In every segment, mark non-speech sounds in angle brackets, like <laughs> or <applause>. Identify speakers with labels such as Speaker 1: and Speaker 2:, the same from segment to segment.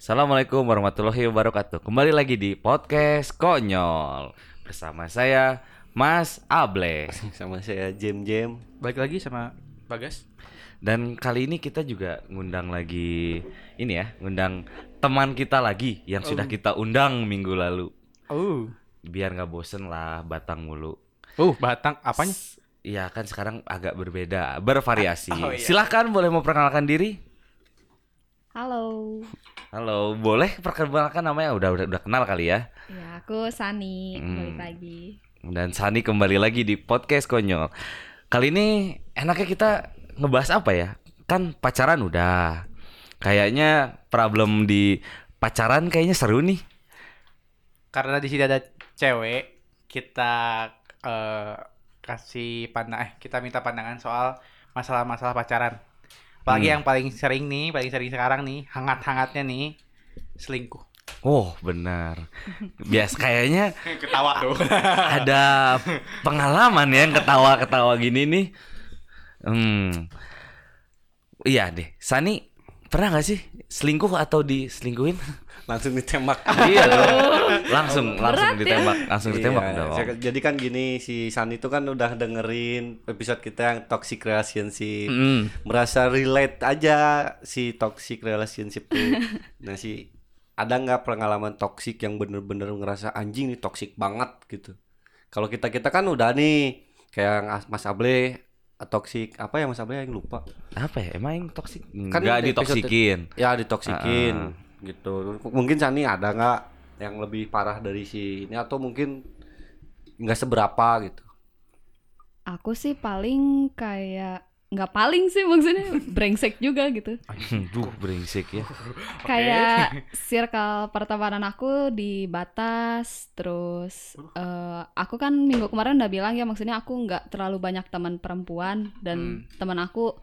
Speaker 1: Assalamualaikum warahmatullahi wabarakatuh. Kembali lagi di podcast konyol bersama saya Mas Able.
Speaker 2: sama saya Jem Jem
Speaker 3: Balik lagi sama Bagas.
Speaker 1: Dan kali ini kita juga ngundang lagi ini ya, ngundang teman kita lagi yang sudah kita undang minggu lalu.
Speaker 3: Oh.
Speaker 1: Biar nggak bosen lah batang mulu.
Speaker 3: Oh, Batang apanya?
Speaker 1: Iya kan sekarang agak berbeda, bervariasi.
Speaker 3: Oh, iya.
Speaker 1: Silahkan boleh memperkenalkan diri.
Speaker 4: Halo,
Speaker 1: Halo, boleh perkenalkan namanya udah udah, udah kenal kali ya.
Speaker 4: ya aku Sani
Speaker 1: Hmm.
Speaker 4: balik lagi.
Speaker 1: Dan Sani kembali lagi di podcast konyol. Kali ini enaknya kita ngebahas apa ya? Kan pacaran udah. Kayaknya problem di pacaran kayaknya seru nih.
Speaker 3: Karena di sini ada cewek, kita eh, kasih pandang eh kita minta pandangan soal masalah-masalah pacaran. Apalagi
Speaker 1: Hmm.
Speaker 3: yang paling sering nih, paling sering sekarang nih, hangat-hangatnya nih selingkuh.
Speaker 1: Oh, benar. Bias kayaknya
Speaker 3: Ketawa tuh.
Speaker 1: <laughs> ada pengalaman ya yang ketawa-ketawa gini nih. Hmm. Iya deh. Sani pernah nggak sih selingkuh atau diselingkuhin?
Speaker 2: langsung ditembak
Speaker 1: iya dong. Langsung langsung
Speaker 4: Berat ya.
Speaker 1: ditembak, langsung ditembak
Speaker 2: Iya,
Speaker 1: dong.
Speaker 2: saya- jadi kan gini si Sani itu kan udah dengerin episode kita yang toxic relationship
Speaker 1: Mm.
Speaker 2: merasa relate aja si toxic relationship tuh
Speaker 1: <laughs>
Speaker 2: nah si ada nggak pengalaman toxic yang bener-bener ngerasa anjing nih toxic banget gitu kalau kita kita kan udah nih kayak yang Mas Able toxic apa ya Mas Able yang lupa
Speaker 1: apa ya emang yang toksik
Speaker 2: Kan
Speaker 1: nggak
Speaker 2: di episode-
Speaker 1: ditoksikin
Speaker 2: ya ditoksikin
Speaker 1: Ah.
Speaker 2: gitu mungkin Sani ada nggak yang lebih parah dari si ini atau mungkin nggak seberapa gitu
Speaker 4: Aku sih paling kayak nggak paling sih maksudnya brengsek juga gitu.
Speaker 1: duh
Speaker 2: Nah,
Speaker 1: brengsek ya
Speaker 4: Kayak circle pertemanan aku dibatas terus eh, aku kan minggu kemarin udah bilang ya maksudnya aku nggak terlalu banyak teman perempuan dan teman aku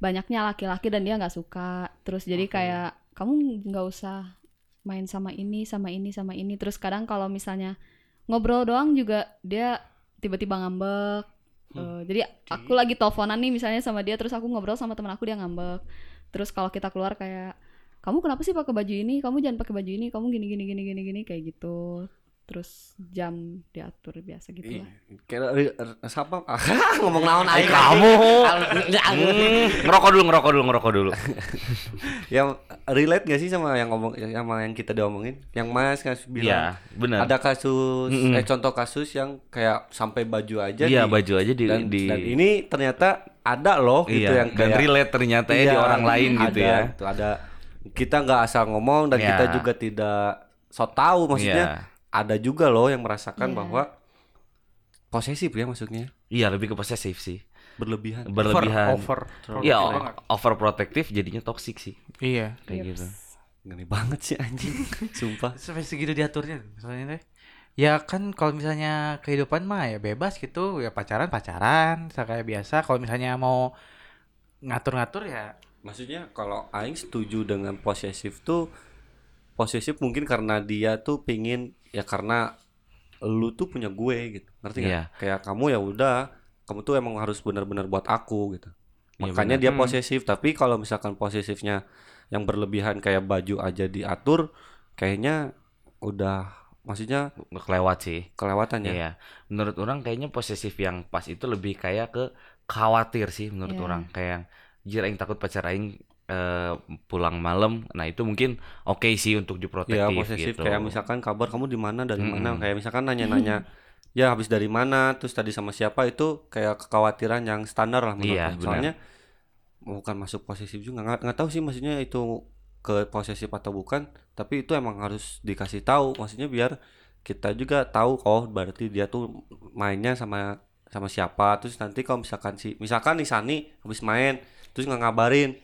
Speaker 4: banyaknya laki-laki dan dia nggak suka. Terus jadi
Speaker 3: Oke.
Speaker 4: kayak kamu nggak usah main sama ini sama ini sama ini terus kadang kalau misalnya ngobrol doang juga dia tiba-tiba ngambek
Speaker 1: Hmm.
Speaker 4: Eh, jadi aku lagi teleponan nih misalnya sama dia terus aku ngobrol sama teman aku dia ngambek terus kalau kita keluar kayak kamu kenapa sih pakai baju ini kamu jangan pakai baju ini kamu gini gini gini gini gini kayak gitu terus jam diatur
Speaker 1: Iya,
Speaker 4: biasa gitu lah
Speaker 2: kayak re- re- siapa <laughs> ngomong naon
Speaker 1: eh,
Speaker 2: aja
Speaker 1: kamu
Speaker 2: <laughs>
Speaker 1: Hmm, ngerokok dulu ngerokok dulu ngerokok dulu
Speaker 2: yang relate gak sih sama yang ngomong sama yang kita diomongin yang Mas kan bilang
Speaker 1: iya benar
Speaker 2: ada kasus
Speaker 1: Mm-mm.
Speaker 2: eh contoh kasus yang kayak sampai baju aja
Speaker 1: iya
Speaker 2: di-
Speaker 1: baju aja di,
Speaker 2: dan,
Speaker 1: di
Speaker 2: dan ini ternyata ada loh gitu
Speaker 1: iya
Speaker 2: yang
Speaker 1: dan
Speaker 2: kayak
Speaker 1: relate ternyata ya di
Speaker 2: Iya,
Speaker 1: orang lain
Speaker 2: ada,
Speaker 1: gitu ya
Speaker 2: gitu, ada kita nggak asal ngomong dan
Speaker 1: Iya.
Speaker 2: kita juga tidak so tahu maksudnya
Speaker 1: iya
Speaker 2: ada juga loh yang merasakan
Speaker 4: Iya.
Speaker 2: bahwa posesif ya maksudnya
Speaker 1: iya lebih ke posesif sih
Speaker 2: berlebihan
Speaker 1: berlebihan
Speaker 3: Over. over.
Speaker 1: Iya,
Speaker 3: Over
Speaker 1: o-
Speaker 3: banget.
Speaker 1: overprotective jadinya toksik sih
Speaker 3: Iya.
Speaker 1: kayak
Speaker 4: Yups.
Speaker 1: gitu.
Speaker 2: ngeri banget sih anjing sumpah
Speaker 3: Sampai segitu diaturnya misalnya teh. Ya kan kalau misalnya kehidupan mah ya bebas gitu, ya pacaran pacaran, kayak biasa. Kalau misalnya mau ngatur-ngatur ya
Speaker 2: maksudnya kalau Aing setuju dengan posesif tuh posesif mungkin karena dia tuh pingin ya karena lu tuh punya gue gitu ngerti nggak
Speaker 1: Iya.
Speaker 2: kayak kamu ya udah kamu tuh emang harus benar-benar buat aku gitu
Speaker 1: Iya,
Speaker 2: makanya
Speaker 1: benar.
Speaker 2: dia
Speaker 3: Hmm.
Speaker 2: posesif tapi kalau misalkan posesifnya yang berlebihan kayak baju aja diatur kayaknya udah maksudnya
Speaker 1: Hmm,
Speaker 2: ya.
Speaker 1: kelewat sih
Speaker 2: kelewatannya
Speaker 1: Iya, menurut orang kayaknya posesif yang pas itu lebih kayak ke khawatir sih menurut
Speaker 4: Iya.
Speaker 1: orang kayak jir aing takut pacar aing eh, pulang malam. Nah, itu mungkin oke sih untuk diprotektif
Speaker 2: ya
Speaker 1: gitu.
Speaker 2: posesif kayak misalkan kabar kamu di mana dari mana
Speaker 1: Mm-mm.
Speaker 2: kayak misalkan nanya-nanya ya habis dari mana terus tadi sama siapa itu kayak kekhawatiran yang standar lah menurut
Speaker 1: Iya,
Speaker 2: aku.
Speaker 1: benar.
Speaker 2: soalnya bukan masuk posesif juga nggak nggak tahu sih maksudnya itu ke posesif atau bukan tapi itu emang harus dikasih tahu maksudnya biar kita juga tahu oh berarti dia tuh mainnya sama sama siapa terus nanti kalau misalkan si misalkan nih Sani habis main terus nggak ngabarin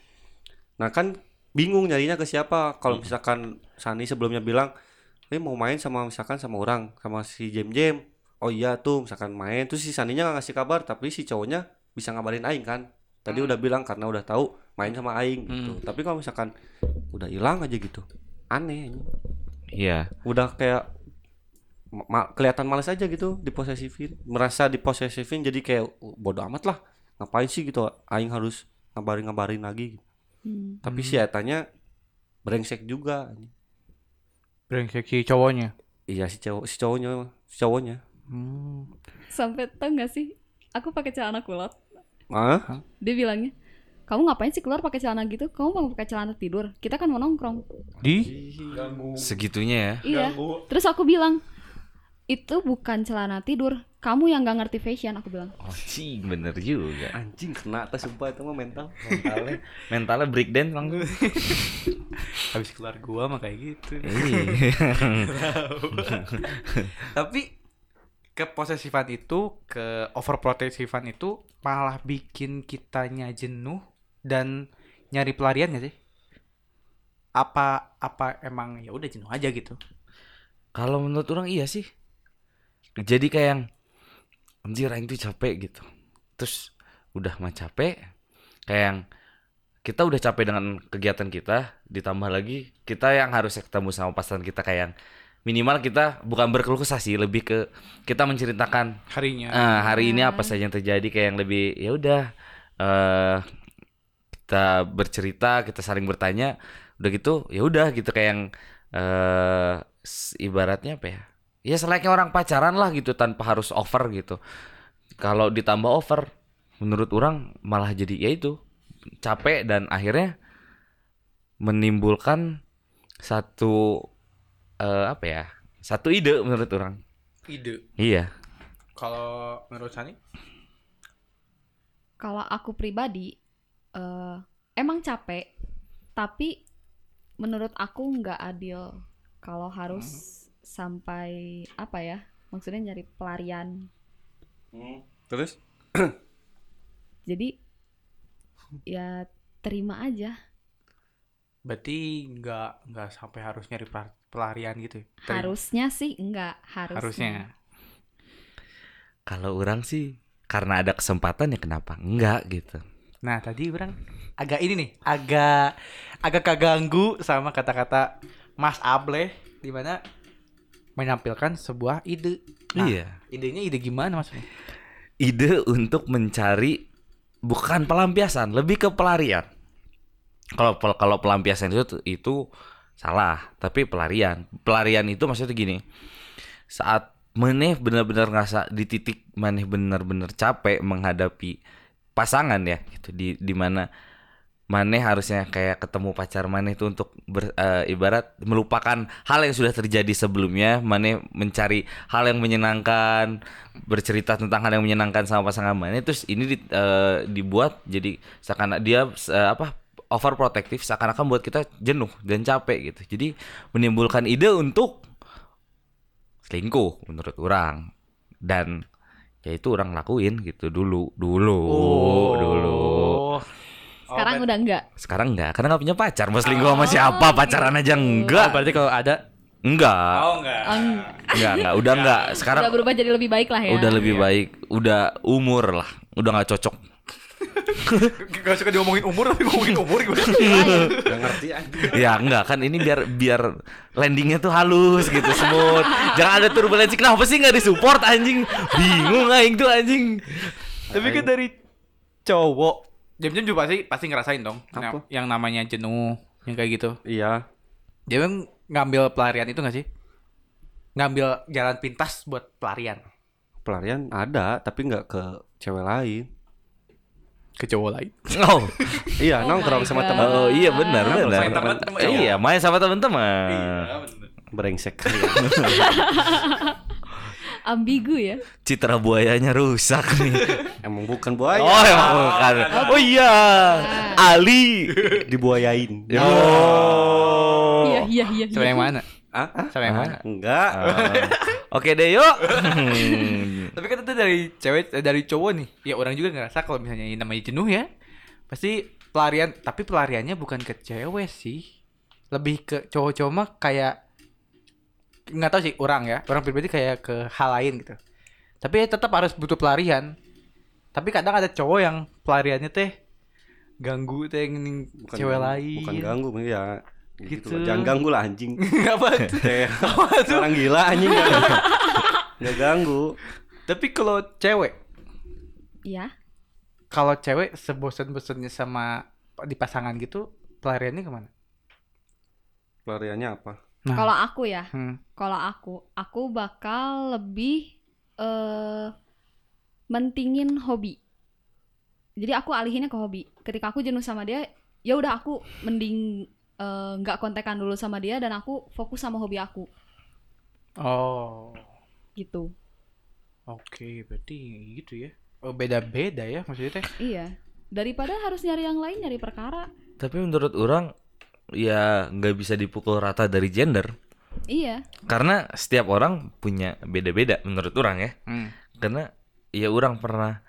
Speaker 2: nah kan bingung nyarinya ke siapa kalau misalkan Sani sebelumnya bilang eh mau main sama misalkan sama orang sama si Jem Jem oh iya tuh misalkan main terus si Saninya nggak ngasih kabar tapi si cowoknya bisa ngabarin Aing kan tadi
Speaker 3: Hmm.
Speaker 2: udah bilang karena udah tahu main sama Aing gitu tapi kalau misalkan udah hilang aja gitu aneh anjing.
Speaker 1: Iya.
Speaker 2: udah kayak ma- ma- kelihatan males aja gitu diposesifin merasa diposesifin jadi kayak bodoh amat lah ngapain sih gitu Aing harus ngabarin ngabarin lagi gitu."
Speaker 4: Hmm.
Speaker 2: tapi ya, si
Speaker 3: Hmm.
Speaker 2: Etanya brengsek juga anjing.
Speaker 3: Brengsek si cowoknya.
Speaker 2: Iya si cowok si cowoknya si cowoknya.
Speaker 3: Hmm.
Speaker 4: sampai tau nggak sih aku pakai celana kulot
Speaker 2: Ah?
Speaker 4: dia bilangnya kamu ngapain sih keluar pakai celana gitu kamu mau pakai celana tidur kita kan mau nongkrong
Speaker 3: Di
Speaker 1: Segitunya ya.
Speaker 4: iya terus aku bilang itu bukan celana tidur kamu yang nggak ngerti fashion aku bilang
Speaker 1: Oh, cing, bener juga.
Speaker 2: Anjing kena atas sumpah itu mah mental.
Speaker 1: Mentalnya, mentalnya breakdown langsung.
Speaker 3: habis keluar gua mah kayak gitu. <laughs> Tapi keposesifan itu, ke overprotectivean itu malah bikin kitanya jenuh dan nyari pelarian gak sih? Apa apa emang ya udah jenuh aja gitu?
Speaker 1: Kalau menurut orang iya sih. Jadi kayak yang anjir aing tuh capek gitu. Terus udah mah capek kayak yang kita udah capek dengan kegiatan kita ditambah lagi kita yang harus ketemu sama pasangan kita kayak yang minimal kita bukan berkeluh kesah sih lebih ke kita menceritakan
Speaker 3: Harinya.
Speaker 1: eh, hari ini apa saja yang terjadi kayak yang lebih ya udah eh kita bercerita kita saling bertanya udah gitu ya udah gitu kayak yang eh s- ibaratnya apa ya ya selayaknya orang pacaran lah gitu tanpa harus over gitu kalau ditambah over menurut orang malah jadi ya itu capek dan akhirnya menimbulkan satu eh apa ya satu ide menurut orang
Speaker 3: Ide.
Speaker 1: iya
Speaker 3: Kalau menurut Sani?
Speaker 4: kalau aku pribadi eh, emang capek tapi menurut aku nggak adil kalau harus sampai apa ya maksudnya nyari pelarian
Speaker 2: Terus?
Speaker 4: jadi ya terima aja
Speaker 3: Berarti nggak nggak sampai harus nyari pelar- pelarian gitu? ya? Terima-
Speaker 4: harusnya sih enggak
Speaker 3: Harusnya.
Speaker 4: harusnya,
Speaker 1: Kalau orang sih karena ada kesempatan ya kenapa enggak gitu.
Speaker 3: Nah tadi orang agak ini nih agak agak keganggu sama kata-kata Mas Ableh di mana menampilkan sebuah ide. Nah,
Speaker 1: Iya.
Speaker 3: Idenya ide gimana mas?
Speaker 1: Ide untuk mencari bukan pelampiasan, lebih ke pelarian. Kalau pel- kalau pelampiasan itu itu salah, tapi pelarian. Pelarian itu maksudnya gini. Saat meneh benar-benar ngerasa di titik maneh benar-benar capek menghadapi pasangan ya gitu di di mana maneh harusnya kayak ketemu pacar maneh itu untuk ber- eh, ibarat melupakan hal yang sudah terjadi sebelumnya maneh mencari hal yang menyenangkan bercerita tentang hal yang menyenangkan sama pasangan maneh terus ini di- eh, dibuat jadi seakan dia eh, apa overprotective seakan-akan buat kita jenuh dan capek gitu jadi menimbulkan ide untuk selingkuh menurut orang dan ya itu orang lakuin gitu dulu dulu
Speaker 3: Oh.
Speaker 1: oh, dulu
Speaker 4: sekarang udah enggak
Speaker 1: sekarang enggak, karena enggak punya pacar. Mau selingkuh sama siapa? Pacaran aja enggak.
Speaker 2: Oh. Berarti kalau ada
Speaker 1: Enggak.
Speaker 3: Oh enggak.
Speaker 4: Eng-
Speaker 1: Enggak, enggak. Udah enggak. Sekarang
Speaker 4: udah berubah jadi lebih baik lah ya
Speaker 1: udah
Speaker 2: Iya.
Speaker 1: lebih baik. Udah umur lah. Udah enggak cocok.
Speaker 3: Gak suka diomongin umur tapi ngomongin umur gimana?
Speaker 2: nggak ngerti anjing.
Speaker 1: ya enggak kan ini biar biar landingnya tuh halus gitu smooth jangan ada turbulensi kenapa sih nggak disupport anjing bingung aing tuh anjing
Speaker 3: tapi kan dari cowok. Jam-jam juga pasti pasti ngerasain dong.
Speaker 2: Apa?
Speaker 3: Yang, yang namanya jenuh yang kayak gitu.
Speaker 2: <laughs> Iya.
Speaker 3: Dia memang ngambil pelarian itu gak sih? Ngambil jalan pintas buat pelarian
Speaker 2: Pelarian ada tapi nggak ke cewek lain.
Speaker 3: ke cowok lain.
Speaker 1: oh
Speaker 2: Iya,
Speaker 4: Oh
Speaker 2: nongkrong
Speaker 4: my
Speaker 2: sama
Speaker 4: God.
Speaker 2: teman
Speaker 1: oh iya benar
Speaker 2: Ah, Main
Speaker 1: benar
Speaker 2: sama Iya. teman-teman.
Speaker 1: iya main sama teman-teman
Speaker 2: <laughs> brengsek.
Speaker 4: <laughs> ambigu ya
Speaker 1: citra buayanya rusak
Speaker 2: <laughs>
Speaker 1: nih
Speaker 2: Emang bukan buaya.
Speaker 1: Oh, emang bukan. Oh iya, Ali.
Speaker 2: dibuayain.
Speaker 1: Oh.
Speaker 4: iya iya iya
Speaker 3: Sama yang mana?
Speaker 2: Ah, ah?
Speaker 3: Sama yang mana?
Speaker 2: Enggak. Ah.
Speaker 1: Oke deh yuk. Hmm.
Speaker 3: Tapi kan itu dari cewek eh, dari cowok nih. Ya orang juga ngerasa kalau misalnya ini namanya jenuh ya. Pasti pelarian, tapi pelariannya bukan ke cewek sih. Lebih ke cowok-cowok mah kayak nggak tahu sih orang ya. Orang pribadi kayak ke hal lain gitu. Tapi tetap harus butuh pelarian. Tapi kadang ada cowok yang pelariannya teh ganggu teh yang
Speaker 2: Bukan
Speaker 3: cewek
Speaker 2: ganggu-
Speaker 3: lain.
Speaker 2: Bukan
Speaker 3: <laughs>
Speaker 2: ganggu, ya. Gitu.
Speaker 3: Gitu.
Speaker 2: lah. Jangan ganggu lah <laughs> anjing.
Speaker 3: Apa <laughs> tuh?
Speaker 2: Kayak orang gila <laughs> anjing. Enggak ganggu.
Speaker 3: tapi kalau cewek
Speaker 4: ya
Speaker 3: kalau cewek sebosen-bosennya sama di pasangan gitu pelariannya kemana?
Speaker 2: Pelariannya apa?
Speaker 3: Nah.
Speaker 4: Kalau aku ya,
Speaker 3: Hmm.
Speaker 4: kalau aku, aku bakal lebih eh mentingin hobi. Jadi aku alihinnya ke hobi. Ketika aku jenuh sama dia, ya udah aku mending eh, nggak kontekan dulu sama dia dan aku fokus sama hobi aku
Speaker 3: Oh.
Speaker 4: gitu.
Speaker 3: Oke, berarti gitu ya. Oh, beda-beda ya maksudnya teh.
Speaker 4: Iya. Daripada harus nyari yang lain, nyari perkara.
Speaker 1: <laughs> Tapi menurut orang ya nggak bisa dipukul rata dari gender
Speaker 4: Iya.
Speaker 1: karena setiap orang punya beda-beda menurut orang ya.
Speaker 3: Hmm,
Speaker 1: Karena ya orang pernah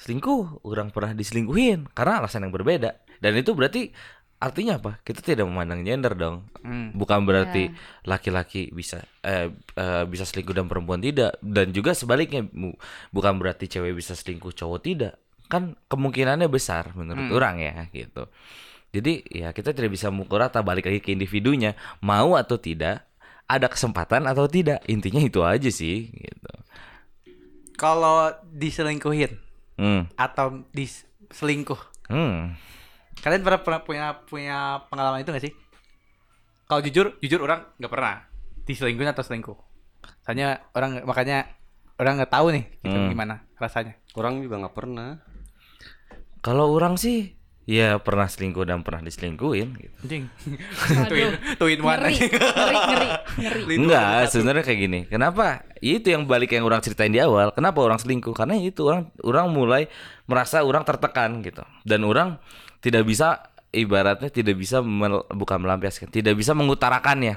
Speaker 1: selingkuh, orang pernah diselingkuhin karena alasan yang berbeda. Dan itu berarti artinya apa? Kita tidak memandang gender dong.
Speaker 3: Hmm.
Speaker 1: Bukan berarti laki-laki bisa eh, eh, bisa selingkuh dan perempuan tidak dan juga sebaliknya Bu- bukan berarti cewek bisa selingkuh cowok tidak kan kemungkinannya besar menurut
Speaker 3: Hmm.
Speaker 1: orang ya gitu jadi ya kita tidak bisa mukul rata balik lagi ke individunya mau atau tidak ada kesempatan atau tidak intinya itu aja sih gitu
Speaker 3: Kalau diselingkuhin
Speaker 1: hmm
Speaker 3: atau diselingkuh,
Speaker 1: hmm
Speaker 3: kalian pernah, pernah punya punya pengalaman itu gak sih? Kalau jujur, jujur orang nggak pernah diselingkuhin atau selingkuh. Soalnya orang makanya orang nggak tahu nih gitu
Speaker 1: Hmm.
Speaker 3: gimana rasanya.
Speaker 2: Orang juga nggak pernah.
Speaker 1: kalau orang sih ya pernah selingkuh dan pernah diselingkuhin gitu.
Speaker 3: <laughs> Anjing.
Speaker 4: Waduh.
Speaker 3: tuin, tuin one
Speaker 4: Ngeri,
Speaker 3: anjing.
Speaker 4: ngeri, ngeri, ngeri.
Speaker 3: Tuin one.
Speaker 1: Enggak, sebenarnya kayak gini. Kenapa? Itu yang balik yang orang ceritain di awal. Kenapa orang selingkuh? Karena itu orang orang mulai merasa orang tertekan gitu. Dan orang tidak bisa ibaratnya tidak bisa mel- bukan melampiaskan, tidak bisa mengutarakannya.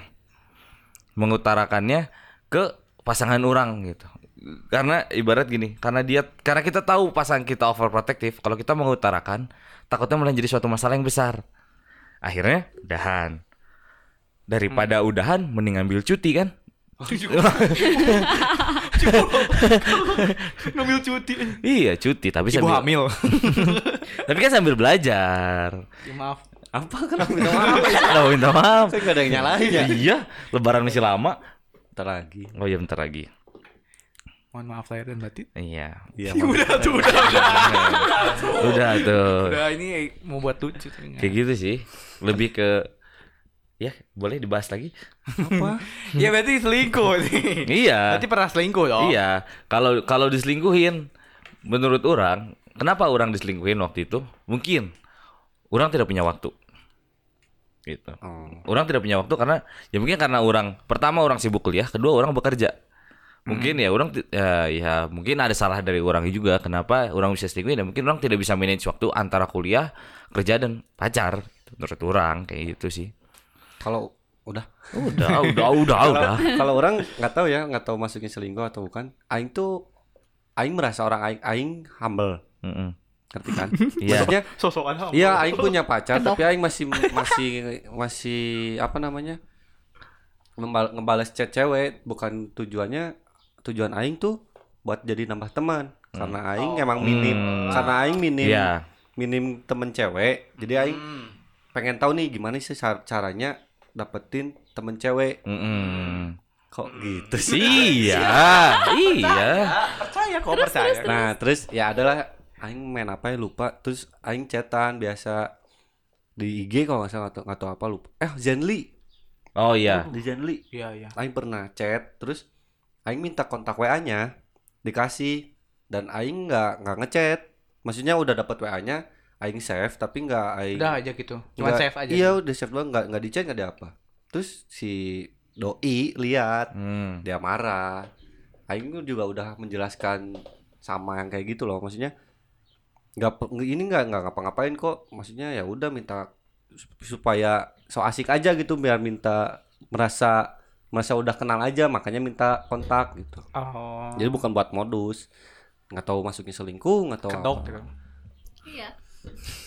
Speaker 1: Mengutarakannya ke pasangan orang gitu. Karena ibarat gini, karena dia karena kita tahu pasangan kita overprotective, kalau kita mengutarakan takutnya malah jadi suatu masalah yang besar. Akhirnya udahan. Daripada udahan mending ambil cuti kan?
Speaker 3: Oh, <laughs> Ngambil cuti.
Speaker 1: Iya cuti tapi
Speaker 3: Ibu
Speaker 1: sambil
Speaker 3: hamil.
Speaker 1: tapi kan sambil belajar.
Speaker 3: Ya, maaf.
Speaker 2: Apa kenapa minta maaf?
Speaker 1: Lo <laughs> minta maaf.
Speaker 2: Saya nggak ada yang nyalahin ya.
Speaker 1: Iya, Lebaran masih lama.
Speaker 2: Bentar lagi.
Speaker 1: Oh iya bentar lagi.
Speaker 3: Mohon maaf lahir dan batin.
Speaker 1: Iya.
Speaker 2: Iya.
Speaker 3: udah tuh, udah, udah.
Speaker 1: Udah
Speaker 2: Oh, iya.
Speaker 1: tuh.
Speaker 3: Udah ini mau buat lucu.
Speaker 1: Kayak gitu sih. Lebih ke ya boleh dibahas lagi.
Speaker 2: Apa?
Speaker 3: Ya berarti selingkuh nih.
Speaker 1: Iya.
Speaker 3: Berarti pernah selingkuh dong.
Speaker 1: Iya. Kalau kalau diselingkuhin menurut orang, kenapa orang diselingkuhin waktu itu? Mungkin orang tidak punya waktu. Gitu.
Speaker 2: Oh.
Speaker 1: orang tidak punya waktu karena ya mungkin karena orang pertama orang sibuk kuliah kedua orang bekerja mungkin
Speaker 2: Hmm.
Speaker 1: ya orang ti- ya, ya mungkin ada salah dari orang juga kenapa orang bisa selingkuh ya, dan mungkin orang tidak bisa manage waktu antara kuliah kerja dan pacar Gitu, menurut orang kayak gitu sih
Speaker 2: Kalau udah
Speaker 1: <laughs> udah udah udah udah
Speaker 2: <laughs> kalau orang nggak tahu ya nggak tahu masuknya selingkuh atau bukan aing tuh aing merasa orang aing aing humble
Speaker 1: Mm-mm.
Speaker 2: ngerti kan
Speaker 1: <laughs> Iya.
Speaker 2: maksudnya
Speaker 3: Sosokan sama.
Speaker 2: iya aing punya pacar
Speaker 4: Kedok.
Speaker 2: tapi aing masih masih masih apa namanya Ngebal- ngebales chat cewek bukan tujuannya tujuan aing tuh buat jadi nambah teman karena aing
Speaker 3: Oh.
Speaker 2: emang minim
Speaker 1: Hmm.
Speaker 2: karena aing minim
Speaker 1: Iya.
Speaker 2: minim temen cewek jadi aing
Speaker 3: Hmm.
Speaker 2: pengen tahu nih gimana sih car- caranya dapetin temen cewek
Speaker 1: Mm-mm.
Speaker 2: kok gitu sih
Speaker 1: iya iya
Speaker 3: Ah, percaya kok percaya.
Speaker 2: Nah, terus ya adalah aing main apa ya lupa. Terus aing chatan biasa di IG kalau nggak salah atau atau apa lupa. Eh, Zenly.
Speaker 1: oh iya
Speaker 2: Nah. Di Zenly.
Speaker 3: Iya iya.
Speaker 2: Aing pernah chat, terus aing minta kontak WA-nya dikasih dan aing nggak nggak ngechat. Maksudnya udah dapat WA-nya, aing save tapi nggak aing
Speaker 3: Udah aja gitu. Cuman
Speaker 2: nggak-
Speaker 3: save aja.
Speaker 2: Iya, udah save doang nggak nggak di chat nggak ada apa. Terus si doi lihat
Speaker 1: Hmm.
Speaker 2: dia marah. Aing tuh juga udah menjelaskan sama yang kayak gitu loh, maksudnya nggak pe- ini nggak nggak ngapa-ngapain kok, maksudnya ya udah minta sup- supaya so asik aja gitu biar minta merasa merasa udah kenal aja makanya minta kontak gitu.
Speaker 3: Oh.
Speaker 2: Jadi bukan buat modus, nggak tahu masuknya selingkuh nggak tahu.
Speaker 3: kedok
Speaker 2: apa.
Speaker 3: gitu.
Speaker 4: Iya.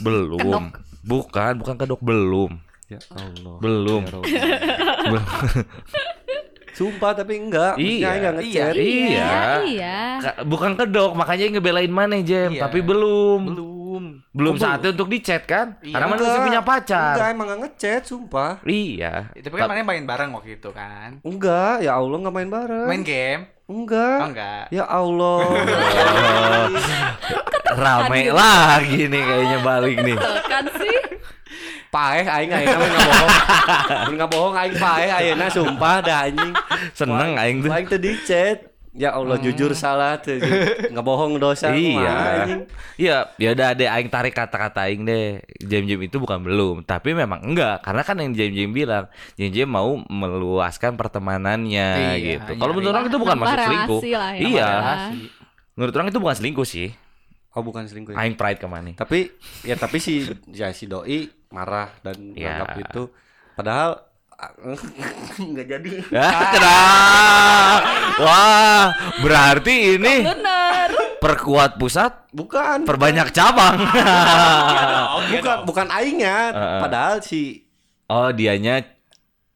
Speaker 1: belum
Speaker 4: Kedok.
Speaker 1: bukan bukan kedok belum
Speaker 2: Ya Allah.
Speaker 1: belum
Speaker 2: Ya Rabbi.
Speaker 1: <laughs>
Speaker 2: Sumpah tapi
Speaker 1: Iya,
Speaker 2: enggak, maksudnya enggak
Speaker 3: iya.
Speaker 2: ngechat.
Speaker 1: iya
Speaker 4: Iya.
Speaker 1: Ka- bukan kedok makanya ngebelain mana Jem
Speaker 3: Iya.
Speaker 1: tapi belum
Speaker 3: Belum.
Speaker 1: belum saatnya untuk di chat kan
Speaker 3: Iya.
Speaker 1: karena mana masih punya pacar
Speaker 2: Enggak, emang nggak ngechat, sumpah.
Speaker 1: iya
Speaker 3: Ya, Tapi
Speaker 1: Ta-
Speaker 3: kan mana main bareng waktu itu kan.
Speaker 2: Enggak, ya Allah nggak main bareng.
Speaker 3: Main game.
Speaker 2: Enggak.
Speaker 3: Oh enggak.
Speaker 2: Ya Allah.
Speaker 3: <laughs>
Speaker 1: rame lagi nih kayaknya balik nih
Speaker 4: Kan sih.
Speaker 2: paeh aing ayeuna mun ngabohong. Mun ngabohong aing paeh ayeuna sumpah dah anjing.
Speaker 1: Seneng aing tuh.
Speaker 2: Aing teh dicet. Ya Allah jujur salah teh. Ngabohong dosa
Speaker 1: Hmm. Iya.
Speaker 2: kumaha anjing.
Speaker 1: Iya, ya udah deh aing tarik kata-kata aing deh. Jam-jam itu bukan belum, tapi memang enggak karena kan yang jam-jam bilang, jam-jam mau meluaskan pertemanannya
Speaker 3: Iya,
Speaker 1: gitu. Kalau
Speaker 3: nyari-
Speaker 1: menurut orang itu bukan
Speaker 4: Nambah
Speaker 1: masuk selingkuh.
Speaker 4: relasi lah ya.
Speaker 1: Iya.
Speaker 3: Relasi.
Speaker 1: Menurut orang itu bukan selingkuh sih.
Speaker 2: Oh bukan selingkuh. ya?
Speaker 1: Aing pride ke mana?
Speaker 2: Tapi ya tapi si ya si doi marah dan
Speaker 1: Ya.
Speaker 2: nganggap itu padahal nggak jadi.
Speaker 1: Ah. Kenapa? Wah, berarti ini
Speaker 4: Bener.
Speaker 1: perkuat pusat,
Speaker 2: Bukan.
Speaker 1: perbanyak cabang.
Speaker 2: bukan bukan aingnya,
Speaker 1: Heeh.
Speaker 2: padahal si
Speaker 1: <laughs> oh, dianya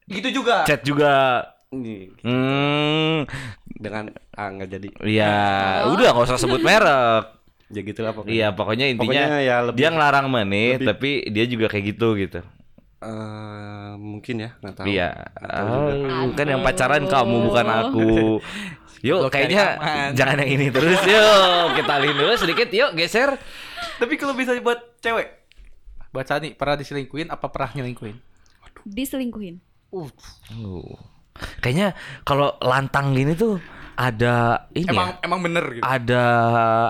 Speaker 3: Gitu juga.
Speaker 1: chat juga.
Speaker 2: ini
Speaker 1: Hmm,
Speaker 2: dengan ah nggak jadi.
Speaker 1: ya
Speaker 4: Oh.
Speaker 1: udah nggak usah sebut merek.
Speaker 2: Ya gitulah pokoknya.
Speaker 1: Iya, pokoknya intinya
Speaker 2: Pokoknya ya lebih
Speaker 1: dia ngelarang menit,
Speaker 2: lebih-
Speaker 1: tapi dia juga kayak gitu gitu.
Speaker 2: eh, mungkin ya, nggak tahu.
Speaker 1: Iya.
Speaker 2: Atau juga.
Speaker 1: Oh, kan yang pacaran kamu bukan aku. Yuk,
Speaker 3: Blok dari
Speaker 1: kayaknya
Speaker 3: aman.
Speaker 1: jangan yang ini terus. Yuk, kita alihin dulu sedikit. Yuk, geser.
Speaker 3: Tapi kalau bisa buat cewek. Buat Sani pernah diselingkuhin apa pernah nyelingkuhin?
Speaker 4: Diselingkuhin.
Speaker 3: Uh,
Speaker 1: Uh. Kayaknya kalau lantang gini tuh ada ini
Speaker 3: emang
Speaker 1: ya,
Speaker 2: iya.
Speaker 3: emang bener gitu.
Speaker 1: ada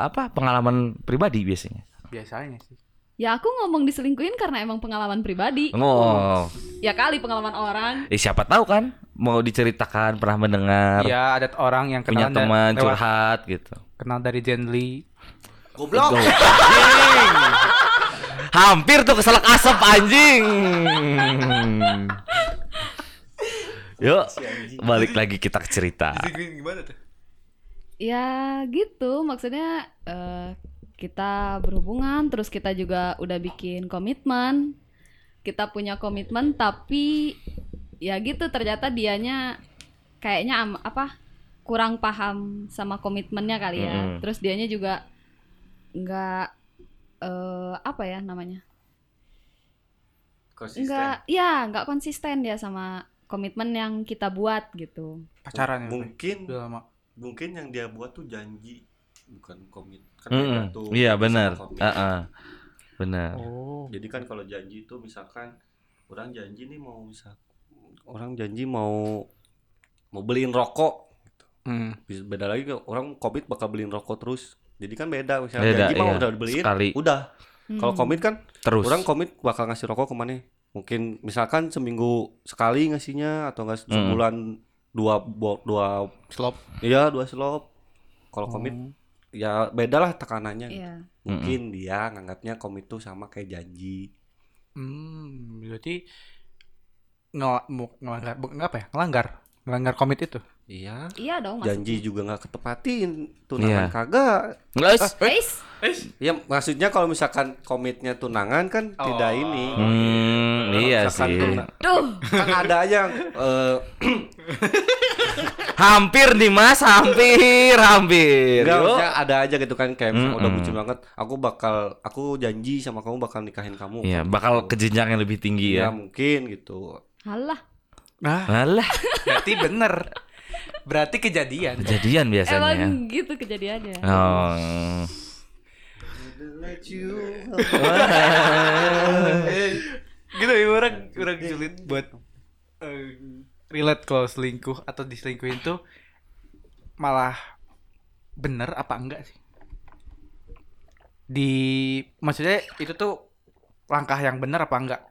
Speaker 1: apa pengalaman pribadi biasanya.
Speaker 3: Biasanya sih.
Speaker 4: Ya aku ngomong diselingkuhin karena emang pengalaman pribadi.
Speaker 1: Oh,
Speaker 4: Ya kali pengalaman orang.
Speaker 2: Iya.
Speaker 1: eh, siapa tahu kan mau diceritakan pernah mendengar
Speaker 3: Iya, ada orang yang
Speaker 1: punya
Speaker 2: ya,
Speaker 3: kenal da-
Speaker 1: teman
Speaker 3: lewat-
Speaker 1: curhat gitu.
Speaker 3: kenal dari Jenly.
Speaker 2: Goblok.
Speaker 1: Hampir tuh keselak asap
Speaker 2: <laughs>
Speaker 1: anjing. Yuk, balik lagi kita ke cerita.
Speaker 3: gimana tuh?
Speaker 4: Ya gitu, maksudnya eh, kita berhubungan, terus kita juga udah bikin komitmen. Kita punya komitmen, tapi ya gitu ternyata dianya kayaknya am- apa kurang paham sama komitmennya kali ya.
Speaker 1: Mm-mm.
Speaker 4: Terus dianya juga nggak eh, apa ya namanya? Nggak, ya nggak konsisten dia sama komitmen yang kita buat gitu.
Speaker 3: Pacaran ya. Bang?
Speaker 2: Mungkin
Speaker 3: Udah lama.
Speaker 2: mungkin yang dia buat tuh janji bukan komit. Kan beda
Speaker 1: Mm-mm.
Speaker 2: tuh
Speaker 1: Iya
Speaker 2: sama
Speaker 1: benar.
Speaker 2: komit.
Speaker 1: Heeh. Benar.
Speaker 3: Oh.
Speaker 2: Jadi kan kalau janji itu misalkan orang janji nih mau misal orang janji mau mau beliin rokok.
Speaker 3: Hmm.
Speaker 2: Bisa- Beda lagi ke orang komit bakal beliin rokok terus. Jadi kan beda misalnya
Speaker 1: Beda,
Speaker 2: janji mau
Speaker 1: iya.
Speaker 2: udah dibeliin
Speaker 1: Sekali.
Speaker 2: udah. Kalau
Speaker 4: Mm.
Speaker 2: komit kan
Speaker 1: Terus.
Speaker 2: orang komit bakal ngasih rokok kemana? Mungkin misalkan seminggu sekali ngasihnya atau nggak
Speaker 1: Mm.
Speaker 2: sebulan dua bo- dua
Speaker 3: Slop.
Speaker 2: Iya dua slop. Kalau komit
Speaker 1: Oh.
Speaker 3: Oh.
Speaker 2: ya beda lah tekanannya.
Speaker 4: Iya.
Speaker 2: Mungkin dia nganggapnya komit tuh sama kayak janji.
Speaker 3: Hmm, berarti ngel mu- ngelanggar bu- apa ya? Ngelanggar. Ngelanggar komit itu.
Speaker 2: Iya.
Speaker 4: Iya dong maksudnya.
Speaker 2: Janji juga nggak ketepatin
Speaker 1: Iya.
Speaker 2: tunangan kagak.
Speaker 1: Guys.
Speaker 2: Ah.
Speaker 4: Guys,
Speaker 2: Ya maksudnya kalau misalkan komitnya tunangan kan
Speaker 3: Oh.
Speaker 2: tidak ini.
Speaker 1: Hmm, iya
Speaker 2: Misalkan
Speaker 1: sih.
Speaker 2: tuna-
Speaker 4: tuh.
Speaker 2: kan ada aja yang eh,
Speaker 1: Hampir nih Mas, hampir, hampir. Oh.
Speaker 2: enggak,
Speaker 1: Yuk.
Speaker 2: maksudnya ada aja gitu kan kayak misalkan udah
Speaker 1: Iya, Mm-mm.
Speaker 2: bucin banget. Aku bakal aku janji sama kamu bakal nikahin kamu. Gitu.
Speaker 1: Iya, bakal ke jenjang yang lebih tinggi
Speaker 2: Ya,
Speaker 1: ya.
Speaker 2: mungkin gitu.
Speaker 4: Halah.
Speaker 3: Nah,
Speaker 2: Iya.
Speaker 1: Alah,
Speaker 3: berarti bener. Berarti kejadian.
Speaker 1: kejadian
Speaker 2: ya.
Speaker 1: biasanya.
Speaker 4: Emang gitu kejadiannya.
Speaker 1: Oh.
Speaker 3: <laughs> gitu ya orang orang sulit buat eh, relate kalau selingkuh atau diselingkuhin tuh malah bener apa enggak sih di maksudnya itu tuh langkah yang bener apa enggak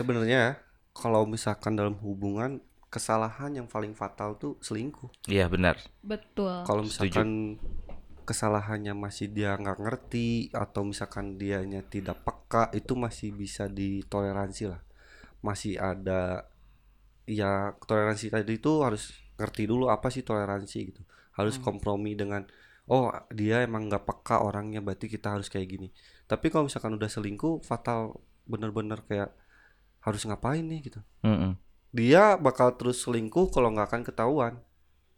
Speaker 2: Sebenarnya kalau misalkan dalam hubungan kesalahan yang paling fatal tuh selingkuh.
Speaker 1: Iya benar.
Speaker 4: Betul.
Speaker 2: Kalau
Speaker 1: Setuju.
Speaker 2: misalkan kesalahannya masih dia nggak ngerti atau misalkan dianya tidak peka itu masih bisa ditoleransi lah. Masih ada ya toleransi tadi itu harus ngerti dulu apa sih toleransi gitu. Harus kompromi dengan oh dia emang nggak peka orangnya berarti kita harus kayak gini. Tapi kalau misalkan udah selingkuh fatal bener-bener kayak harus ngapain nih gitu.
Speaker 1: Mm-mm.
Speaker 2: Dia bakal terus selingkuh kalau nggak akan ketahuan.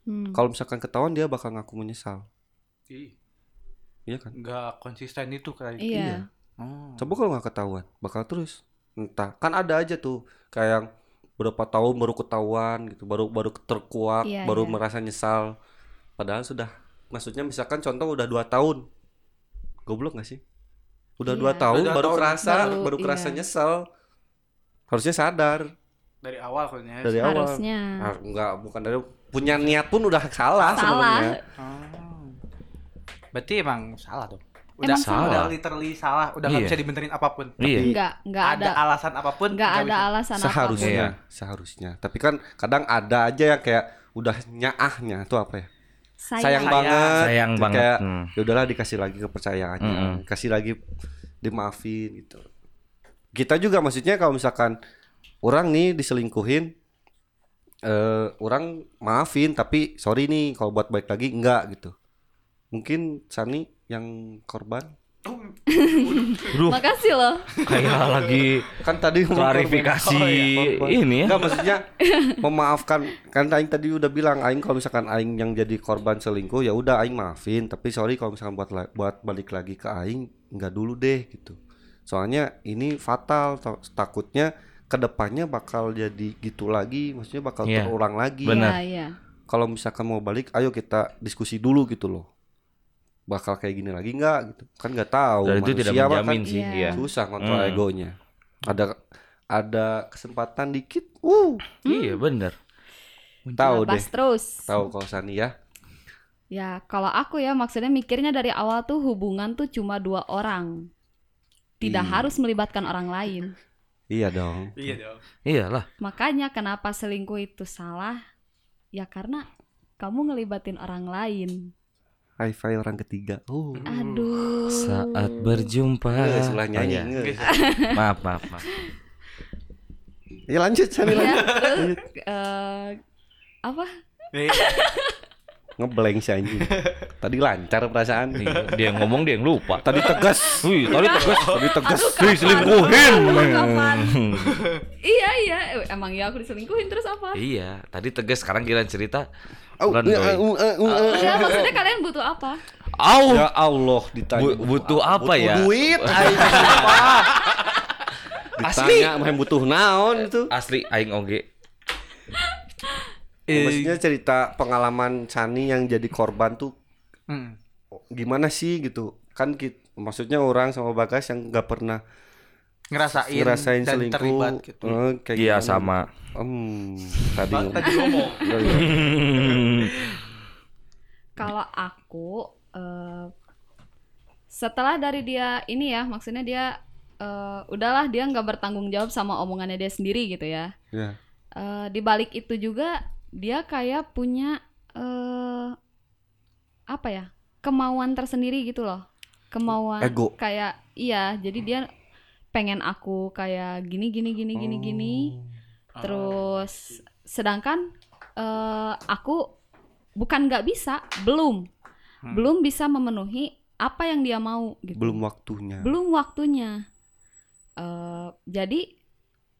Speaker 4: Hmm.
Speaker 2: Kalau misalkan ketahuan dia bakal ngaku menyesal. Iya kan?
Speaker 3: enggak konsisten itu gitu. kali
Speaker 4: Iya.
Speaker 3: oh.
Speaker 2: Coba kalau nggak ketahuan, bakal terus. Entah, kan ada aja tuh kayak yang berapa tahun baru ketahuan gitu, baru baru terkuak,
Speaker 4: Iya,
Speaker 2: baru
Speaker 4: iya.
Speaker 2: merasa nyesal. Padahal sudah, maksudnya misalkan contoh udah dua tahun, goblok nggak sih? udah
Speaker 4: Iya.
Speaker 2: dua tahun
Speaker 3: Udah
Speaker 2: baru
Speaker 3: tahun.
Speaker 2: kerasa baru,
Speaker 4: Baru, iya.
Speaker 2: kerasa nyesel harusnya sadar
Speaker 3: dari awal kayaknya
Speaker 2: dari awal
Speaker 4: harusnya
Speaker 2: Nah, enggak bukan dari punya niat pun udah salah,
Speaker 4: salah
Speaker 2: sebenarnya
Speaker 3: Oh. Berarti emang salah dong. Udah
Speaker 4: Emang
Speaker 1: salah.
Speaker 3: udah literally salah, udah nggak
Speaker 1: Iya.
Speaker 3: bisa dibenerin apapun.
Speaker 1: Iya.
Speaker 4: nggak nggak
Speaker 3: ada,
Speaker 4: ada
Speaker 3: alasan apapun.
Speaker 4: nggak ada
Speaker 3: bisa.
Speaker 4: alasan
Speaker 2: seharusnya
Speaker 1: Iya.
Speaker 2: seharusnya tapi kan kadang ada aja yang kayak udah nyaahnya itu apa ya
Speaker 4: apapun.
Speaker 2: sayang,
Speaker 4: sayang
Speaker 3: Sayang.
Speaker 2: banget
Speaker 1: Sayang
Speaker 2: Kayak,
Speaker 1: banget. Hmm.
Speaker 2: ya udahlah dikasih lagi kepercayaannya kasih lagi dimaafin gitu kita juga maksudnya kalau misalkan orang nih diselingkuhin eh orang maafin tapi sorry nih kalau buat baik lagi enggak gitu mungkin Sani yang korban
Speaker 1: Duh,
Speaker 4: makasih loh
Speaker 1: kayak
Speaker 2: <laughs>
Speaker 1: lagi
Speaker 2: kan tadi ngomong
Speaker 1: klarifikasi
Speaker 2: korban. korban.
Speaker 1: ini ya.
Speaker 2: Enggak maksudnya memaafkan kan aing tadi udah bilang aing kalau misalkan aing yang jadi korban selingkuh ya udah aing maafin tapi sorry kalau misalkan buat la- buat balik lagi ke aing nggak dulu deh gitu. Soalnya ini fatal ta- takutnya kedepannya bakal jadi gitu lagi maksudnya bakal
Speaker 1: Iya.
Speaker 2: terulang lagi.
Speaker 1: Bener. Benar.
Speaker 4: Iya, iya.
Speaker 2: Kalau misalkan mau balik ayo kita diskusi dulu gitu loh. Bakal kayak gini lagi nggak gitu. Kan nggak tahu.
Speaker 1: Dan itu tidak
Speaker 2: Manusia mah kan
Speaker 1: menjamin sih,
Speaker 4: Iya.
Speaker 1: iya.
Speaker 2: susah kontrol
Speaker 1: Hmm.
Speaker 2: egonya ada ada kesempatan dikit uh
Speaker 1: Iya, bener.
Speaker 2: tahu deh
Speaker 4: Nabas terus
Speaker 2: tahu kalau Sani ya
Speaker 4: ya kalau aku ya maksudnya mikirnya dari awal tuh hubungan tuh cuma dua orang tidak
Speaker 2: Iya.
Speaker 4: harus melibatkan orang lain
Speaker 2: iya dong
Speaker 3: Iya dong.
Speaker 1: Iyalah.
Speaker 4: makanya kenapa selingkuh itu salah ya karena kamu ngelibatin orang lain
Speaker 2: high five orang ketiga uh
Speaker 3: Hmm.
Speaker 4: aduh
Speaker 1: Saat berjumpa.
Speaker 2: Eh, sulah nyanyi
Speaker 1: Oh,
Speaker 2: nge.
Speaker 1: iya. Maaf, maaf, maaf.
Speaker 2: ya lanjut Sani
Speaker 4: Ya,
Speaker 2: lanjut
Speaker 4: eh, eh, apa
Speaker 3: Nih,
Speaker 2: <laughs> ngeblank si anjing <laughs> tadi lancar perasaan
Speaker 1: Nih, dia yang ngomong dia yang lupa.
Speaker 2: tadi tegas
Speaker 1: Wih, tadi tegas.
Speaker 4: <laughs>
Speaker 2: tadi
Speaker 1: <laughs>
Speaker 2: tegas
Speaker 4: Aduh,
Speaker 1: Wih,
Speaker 4: kapan?
Speaker 1: selingkuhin.
Speaker 4: Aduh, kapan?
Speaker 1: Hmm.
Speaker 4: iya iya Eh, emang ya aku diselingkuhin terus apa
Speaker 1: <laughs> Iya, tadi tegas sekarang kira cerita.
Speaker 2: Au,
Speaker 1: Landoy.
Speaker 2: eh, eh, eh, eh, eh.
Speaker 4: Enggak, Ya, maksudnya kalian butuh apa
Speaker 1: Au.
Speaker 2: <laughs> ya Allah ditanya
Speaker 1: Bu- butuh apa
Speaker 2: butuh
Speaker 1: ya? <laughs>
Speaker 2: duit aing apa ditanya mah yang butuh naon itu
Speaker 1: Asli aing oge.
Speaker 3: eh,
Speaker 2: Ya, maksudnya cerita pengalaman Sani yang jadi korban tuh
Speaker 3: mm.
Speaker 2: gimana sih gitu kan kita, maksudnya orang sama Bagas yang nggak pernah
Speaker 3: ngerasain,
Speaker 2: ngerasain
Speaker 3: dan
Speaker 2: selingkuh
Speaker 3: terlibat gitu.
Speaker 2: eh, kayak
Speaker 1: Iya,
Speaker 2: gimana.
Speaker 1: sama.
Speaker 2: Hmm, tadi
Speaker 3: Bang,
Speaker 2: ngomong.
Speaker 3: tadi ngomong.
Speaker 2: Iya, iya.
Speaker 1: Hmm.
Speaker 4: kalau aku eh, setelah dari dia ini ya maksudnya dia eh, udahlah dia nggak bertanggung jawab sama omongannya dia sendiri gitu ya
Speaker 2: Iya.
Speaker 4: Eh, di balik itu juga dia kayak punya eh, apa ya kemauan tersendiri gitu loh kemauan
Speaker 2: Ego.
Speaker 4: kayak iya jadi dia pengen aku kayak gini gini gini gini
Speaker 3: Oh.
Speaker 4: gini Terus sedangkan eh, aku bukan nggak bisa, belum.
Speaker 3: Hmm.
Speaker 4: Belum bisa memenuhi apa yang dia mau gitu.
Speaker 2: belum waktunya
Speaker 4: Belum waktunya. Eh, jadi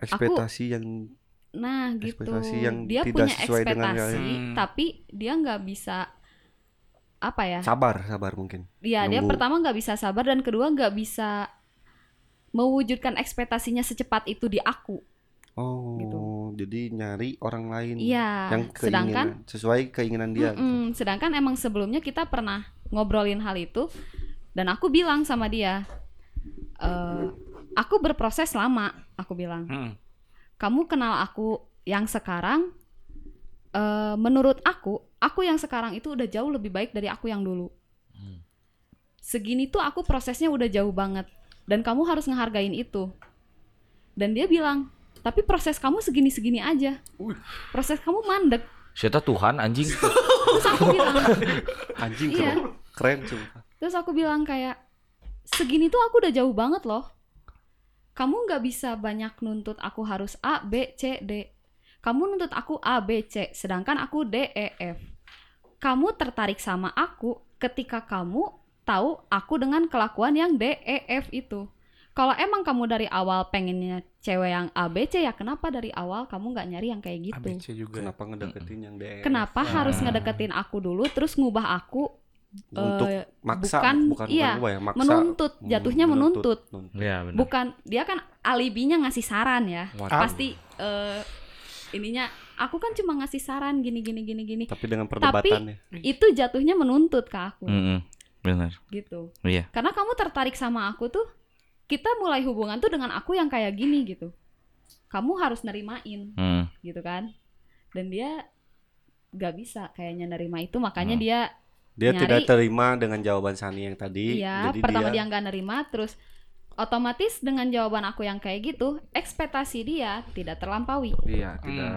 Speaker 2: ekspektasi yang
Speaker 4: nah gitu.
Speaker 2: Ekspektasi yang
Speaker 4: dia
Speaker 2: tidak
Speaker 4: punya
Speaker 2: sesuai dengan
Speaker 3: realita.
Speaker 4: ekspektasi
Speaker 3: Hmm.
Speaker 4: tapi dia nggak bisa apa ya?
Speaker 2: sabar sabar mungkin
Speaker 4: Ya, dia
Speaker 2: Nunggu.
Speaker 4: pertama nggak bisa sabar dan kedua nggak bisa mewujudkan ekspektasinya secepat itu di aku.
Speaker 2: oh
Speaker 4: Gitu.
Speaker 2: jadi nyari orang lain
Speaker 4: Iya.
Speaker 2: Hmm. yang keinginan
Speaker 4: sedangkan
Speaker 2: sesuai keinginan dia gitu.
Speaker 4: Mm-mm. Sedangkan emang sebelumnya kita pernah ngobrolin hal itu dan aku bilang sama dia, "Eh, aku berproses lama. Aku bilang,
Speaker 3: Mm.
Speaker 4: kamu kenal aku yang sekarang. eh, menurut aku, aku yang sekarang itu udah jauh lebih baik dari aku yang dulu.
Speaker 1: Hmm.
Speaker 4: Segini tuh aku prosesnya udah jauh banget dan kamu harus ngehargain itu." Dan dia bilang, tapi proses kamu segini-segini aja.
Speaker 3: Wih.
Speaker 4: Proses kamu mandek.
Speaker 1: Syeta Tuhan
Speaker 4: <laughs>
Speaker 1: anjing.
Speaker 4: Terus aku bilang,
Speaker 2: anjing
Speaker 4: Iya.
Speaker 2: keren keren sumpah
Speaker 4: Terus aku bilang kayak segini tuh aku udah jauh banget loh. Kamu nggak bisa banyak nuntut aku harus A, B, C, D. Kamu nuntut aku A, B, C, sedangkan aku D, E, F. Kamu tertarik sama aku ketika kamu tahu aku dengan kelakuan yang D, E, F itu. Kalau emang kamu dari awal pengennya cewek yang A, B, C, ya kenapa dari awal kamu nggak nyari yang kayak gitu?
Speaker 2: E,
Speaker 3: ABC juga.
Speaker 2: kenapa ngedeketin yang DE
Speaker 4: Kenapa harus
Speaker 1: Ah.
Speaker 4: ngedeketin aku dulu terus ngubah aku
Speaker 2: untuk
Speaker 4: eh,
Speaker 2: maksa
Speaker 4: bukan-
Speaker 2: bukan bukan
Speaker 4: iya,
Speaker 2: gua ya, maksa
Speaker 4: menuntut
Speaker 2: Hmm,
Speaker 4: jatuhnya menuntut.
Speaker 2: menuntut.
Speaker 1: Iya, benar.
Speaker 4: bukan dia kan alibinya ngasih saran ya
Speaker 2: Waduh.
Speaker 4: pasti eh, ininya aku kan cuma ngasih saran gini gini gini gini
Speaker 2: tapi dengan perdebatannya
Speaker 4: itu
Speaker 2: Hmm.
Speaker 4: jatuhnya menuntut ke aku
Speaker 1: Mm-mm. Benar.
Speaker 4: gitu
Speaker 1: Iya.
Speaker 4: karena kamu tertarik sama aku tuh kita mulai hubungan tuh dengan aku yang kayak gini gitu kamu harus nerimain
Speaker 1: Hmm.
Speaker 4: gitu kan dan dia gak bisa kayaknya nerima itu makanya
Speaker 1: Hmm.
Speaker 4: dia
Speaker 2: Dia
Speaker 4: Nyari.
Speaker 2: tidak terima dengan jawaban Sani yang tadi.
Speaker 4: Iya,
Speaker 2: jadi
Speaker 4: pertama
Speaker 2: dia,
Speaker 4: dia nggak nerima, terus otomatis dengan jawaban aku yang kayak gitu, ekspektasi dia tidak terlampaui.
Speaker 2: Iya,
Speaker 3: Hmm.
Speaker 2: tidak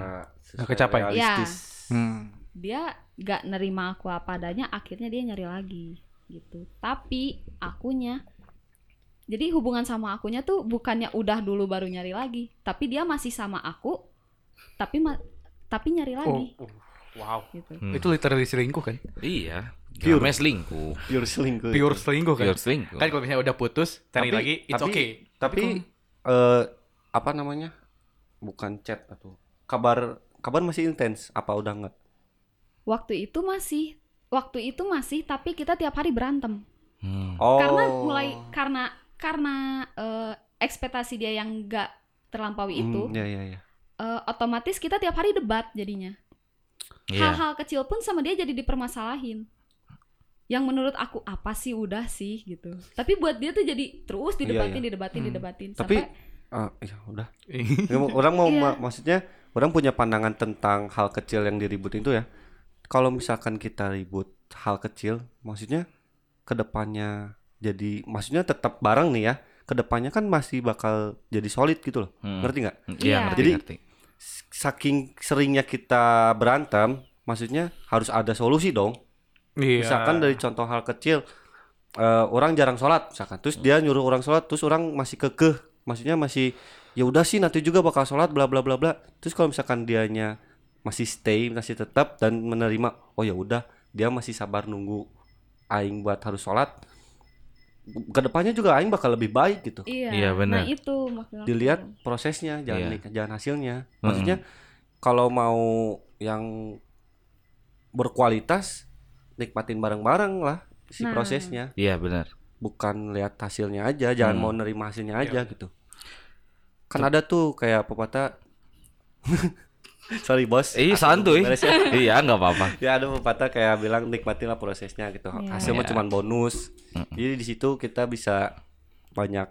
Speaker 3: Nggak kecapai.
Speaker 2: sesuai
Speaker 4: Iya.
Speaker 2: realistis. Hmm.
Speaker 4: Dia nggak nerima aku apa adanya, akhirnya dia nyari lagi gitu. Tapi akunya, jadi hubungan sama akunya tuh bukannya udah dulu baru nyari lagi, tapi dia masih sama aku, tapi ma- tapi nyari lagi
Speaker 3: Oh, oh, wow.
Speaker 4: gitu.
Speaker 1: Hmm.
Speaker 3: Itu literally selingkuh kan?
Speaker 1: Iya.
Speaker 2: Pure.
Speaker 1: Namanya selingkuh.
Speaker 2: Pure selingkuh.
Speaker 3: Pure selingkuh kan?
Speaker 1: Pure selingkuh.
Speaker 3: Kan kalau misalnya udah putus, cari
Speaker 2: Tapi-
Speaker 3: lagi, it's
Speaker 2: tapi-
Speaker 3: okay.
Speaker 2: Tapi eh apa namanya? Bukan chat atau kabar kabar masih intens apa udah enggak?
Speaker 4: Waktu itu masih, waktu itu masih, tapi kita tiap hari berantem.
Speaker 1: Hmm.
Speaker 2: Oh.
Speaker 4: karena mulai karena karena eh, ekspektasi dia yang nggak terlampaui itu
Speaker 2: Hmm, Iya, iya, iya.
Speaker 4: eh, otomatis kita tiap hari debat jadinya
Speaker 1: Iya.
Speaker 4: hal-hal kecil pun sama dia jadi dipermasalahin yang menurut aku apa sih udah sih gitu tapi buat dia tuh jadi terus didebatin didebatin
Speaker 3: Hmm.
Speaker 4: didebatin
Speaker 2: Iya, Tapi-
Speaker 4: sampai
Speaker 2: Ah, iya,
Speaker 4: <laughs>
Speaker 2: udah.
Speaker 3: Ih,
Speaker 2: Ya, orang mau
Speaker 4: Iya.
Speaker 2: ma- maksudnya orang punya pandangan tentang hal kecil yang diributin itu ya. Kalau misalkan kita ribut hal kecil, maksudnya kedepannya jadi maksudnya tetap bareng nih ya. Kedepannya kan masih bakal jadi solid gitu loh.
Speaker 1: Hmm.
Speaker 2: Ngerti nggak?
Speaker 1: Iya,
Speaker 4: Iya.
Speaker 1: ngerti,
Speaker 2: Jadi-
Speaker 1: ngerti.
Speaker 2: S- Saking seringnya kita berantem, maksudnya harus ada solusi dong.
Speaker 3: <laughs> Iya.
Speaker 2: Misalkan dari contoh hal kecil, eh, orang jarang sholat, misalkan, terus dia nyuruh orang sholat, terus orang masih kekeh, maksudnya masih ya udah sih nanti juga bakal sholat, bla bla bla bla. Terus kalau misalkan dianya masih stay, masih tetap dan menerima, oh ya udah, dia masih sabar nunggu aing buat harus sholat. Kedepannya juga aing bakal lebih baik gitu.
Speaker 4: iya
Speaker 1: Iya, benar.
Speaker 4: nah itu maksud aku.
Speaker 2: Dilihat prosesnya, jangan
Speaker 1: Iya. Hmm.
Speaker 2: nik- jangan hasilnya. Maksudnya kalau mau yang berkualitas nikmatin bareng-bareng lah si
Speaker 4: Nah.
Speaker 2: prosesnya
Speaker 1: Iya, benar.
Speaker 2: bukan lihat hasilnya aja jangan
Speaker 1: Hmm.
Speaker 2: mau nerima hasilnya aja gitu kan ada tuh kayak pepatah <laughs> sorry bos
Speaker 1: Ih,
Speaker 2: Aku
Speaker 1: santuy.
Speaker 2: beres ya.
Speaker 1: <laughs> iya, nggak apa-apa.
Speaker 2: ya ada pepatah kayak bilang nikmatilah prosesnya gitu
Speaker 4: Iya.
Speaker 2: hasilnya
Speaker 1: Iya.
Speaker 2: cuma bonus
Speaker 1: Mm-mm.
Speaker 2: jadi di situ kita bisa banyak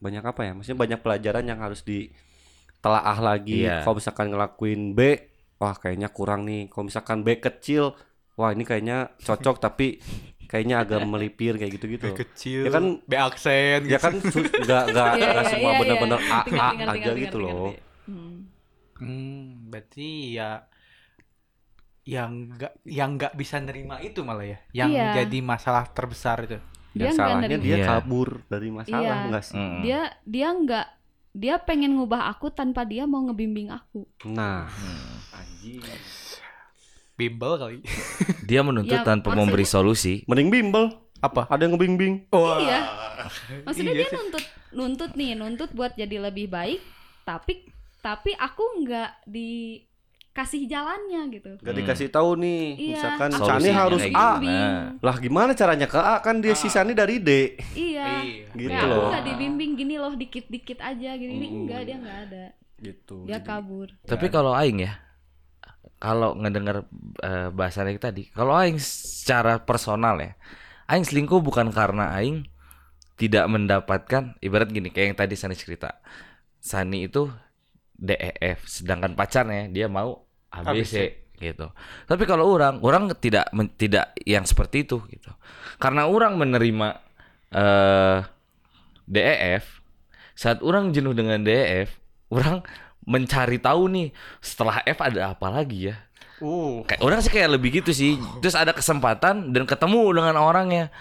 Speaker 2: banyak apa ya maksudnya banyak pelajaran yang harus ditelaah lagi
Speaker 1: Iya.
Speaker 2: kalau misalkan ngelakuin B wah kayaknya kurang nih kalau misalkan B kecil wah ini kayaknya
Speaker 1: <laughs>
Speaker 2: cocok tapi kayaknya agak melipir kayak
Speaker 3: B
Speaker 2: gitu-gitu
Speaker 3: kecil. gitu.
Speaker 2: Ya kan-
Speaker 3: B aksen.
Speaker 2: ya kan
Speaker 1: gitu.
Speaker 2: su- nggak nggak
Speaker 4: Iya,
Speaker 2: nggak
Speaker 4: iya,
Speaker 2: semua
Speaker 4: iya, iya.
Speaker 2: benar-benar A
Speaker 4: Ngerti,
Speaker 2: A
Speaker 4: ngerti, ngerti,
Speaker 2: aja
Speaker 4: ngerti,
Speaker 2: gitu
Speaker 4: ngerti.
Speaker 2: loh
Speaker 4: Hmm.
Speaker 3: Hmm, berarti ya yang nggak yang nggak bisa nerima itu malah ya yang
Speaker 4: Iya.
Speaker 3: jadi masalah terbesar itu
Speaker 2: yang
Speaker 4: Dia nggak
Speaker 2: salahnya
Speaker 4: nerima.
Speaker 2: dia
Speaker 1: Iya.
Speaker 2: kabur dari masalah
Speaker 4: Iya.
Speaker 2: nggak sih
Speaker 1: Mm.
Speaker 4: dia dia nggak dia pengen ngubah aku tanpa dia mau ngebimbing aku
Speaker 2: nah
Speaker 1: Hmm.
Speaker 2: anjing
Speaker 3: bimbel kali
Speaker 1: Dia menuntut
Speaker 4: Ya,
Speaker 1: tanpa
Speaker 4: maksudnya-
Speaker 1: memberi solusi.
Speaker 2: mending bimbel
Speaker 3: apa
Speaker 2: ada yang ngebimbing
Speaker 3: <laughs>
Speaker 4: Iya. Maksudnya
Speaker 3: Iya
Speaker 4: dia
Speaker 3: sih.
Speaker 4: nuntut nuntut nih, nuntut buat jadi lebih baik, tapi tapi aku nggak dikasih jalannya gitu.
Speaker 2: Gak
Speaker 1: Hmm.
Speaker 2: dikasih tahu nih,
Speaker 4: Iya.
Speaker 2: misalkan
Speaker 4: aku
Speaker 2: Sani
Speaker 1: Solusinya
Speaker 2: harus
Speaker 1: kayak
Speaker 2: A. Nah.
Speaker 1: gimana?
Speaker 4: Bimbing.
Speaker 2: Lah gimana caranya ke A kan dia
Speaker 3: Ah.
Speaker 2: si Sani dari D.
Speaker 4: Iya.
Speaker 2: Gitu
Speaker 4: Kayak aku
Speaker 2: loh.
Speaker 4: nggak dibimbing gini loh, dikit-dikit aja gini. Ini
Speaker 2: Mm.
Speaker 4: enggak, dia nggak ada.
Speaker 2: Gitu.
Speaker 4: Dia
Speaker 2: Jadi,
Speaker 4: kabur.
Speaker 1: Tapi kalau aing ya, kalau ngedengar eh, bahasan yang tadi, kalau aing secara personal ya, aing selingkuh bukan karena aing tidak mendapatkan ibarat gini kayak yang tadi Sani cerita. Sani itu DEF, sedangkan pacarnya dia mau ABC, gitu. Tapi kalau orang, orang tidak men- tidak yang seperti itu gitu. Karena orang menerima eh DEF, saat orang jenuh dengan DEF, orang mencari tahu nih setelah F ada apa lagi ya.
Speaker 3: uh
Speaker 1: Kayak orang sih kayak lebih gitu sih. Terus ada kesempatan dan ketemu dengan orangnya.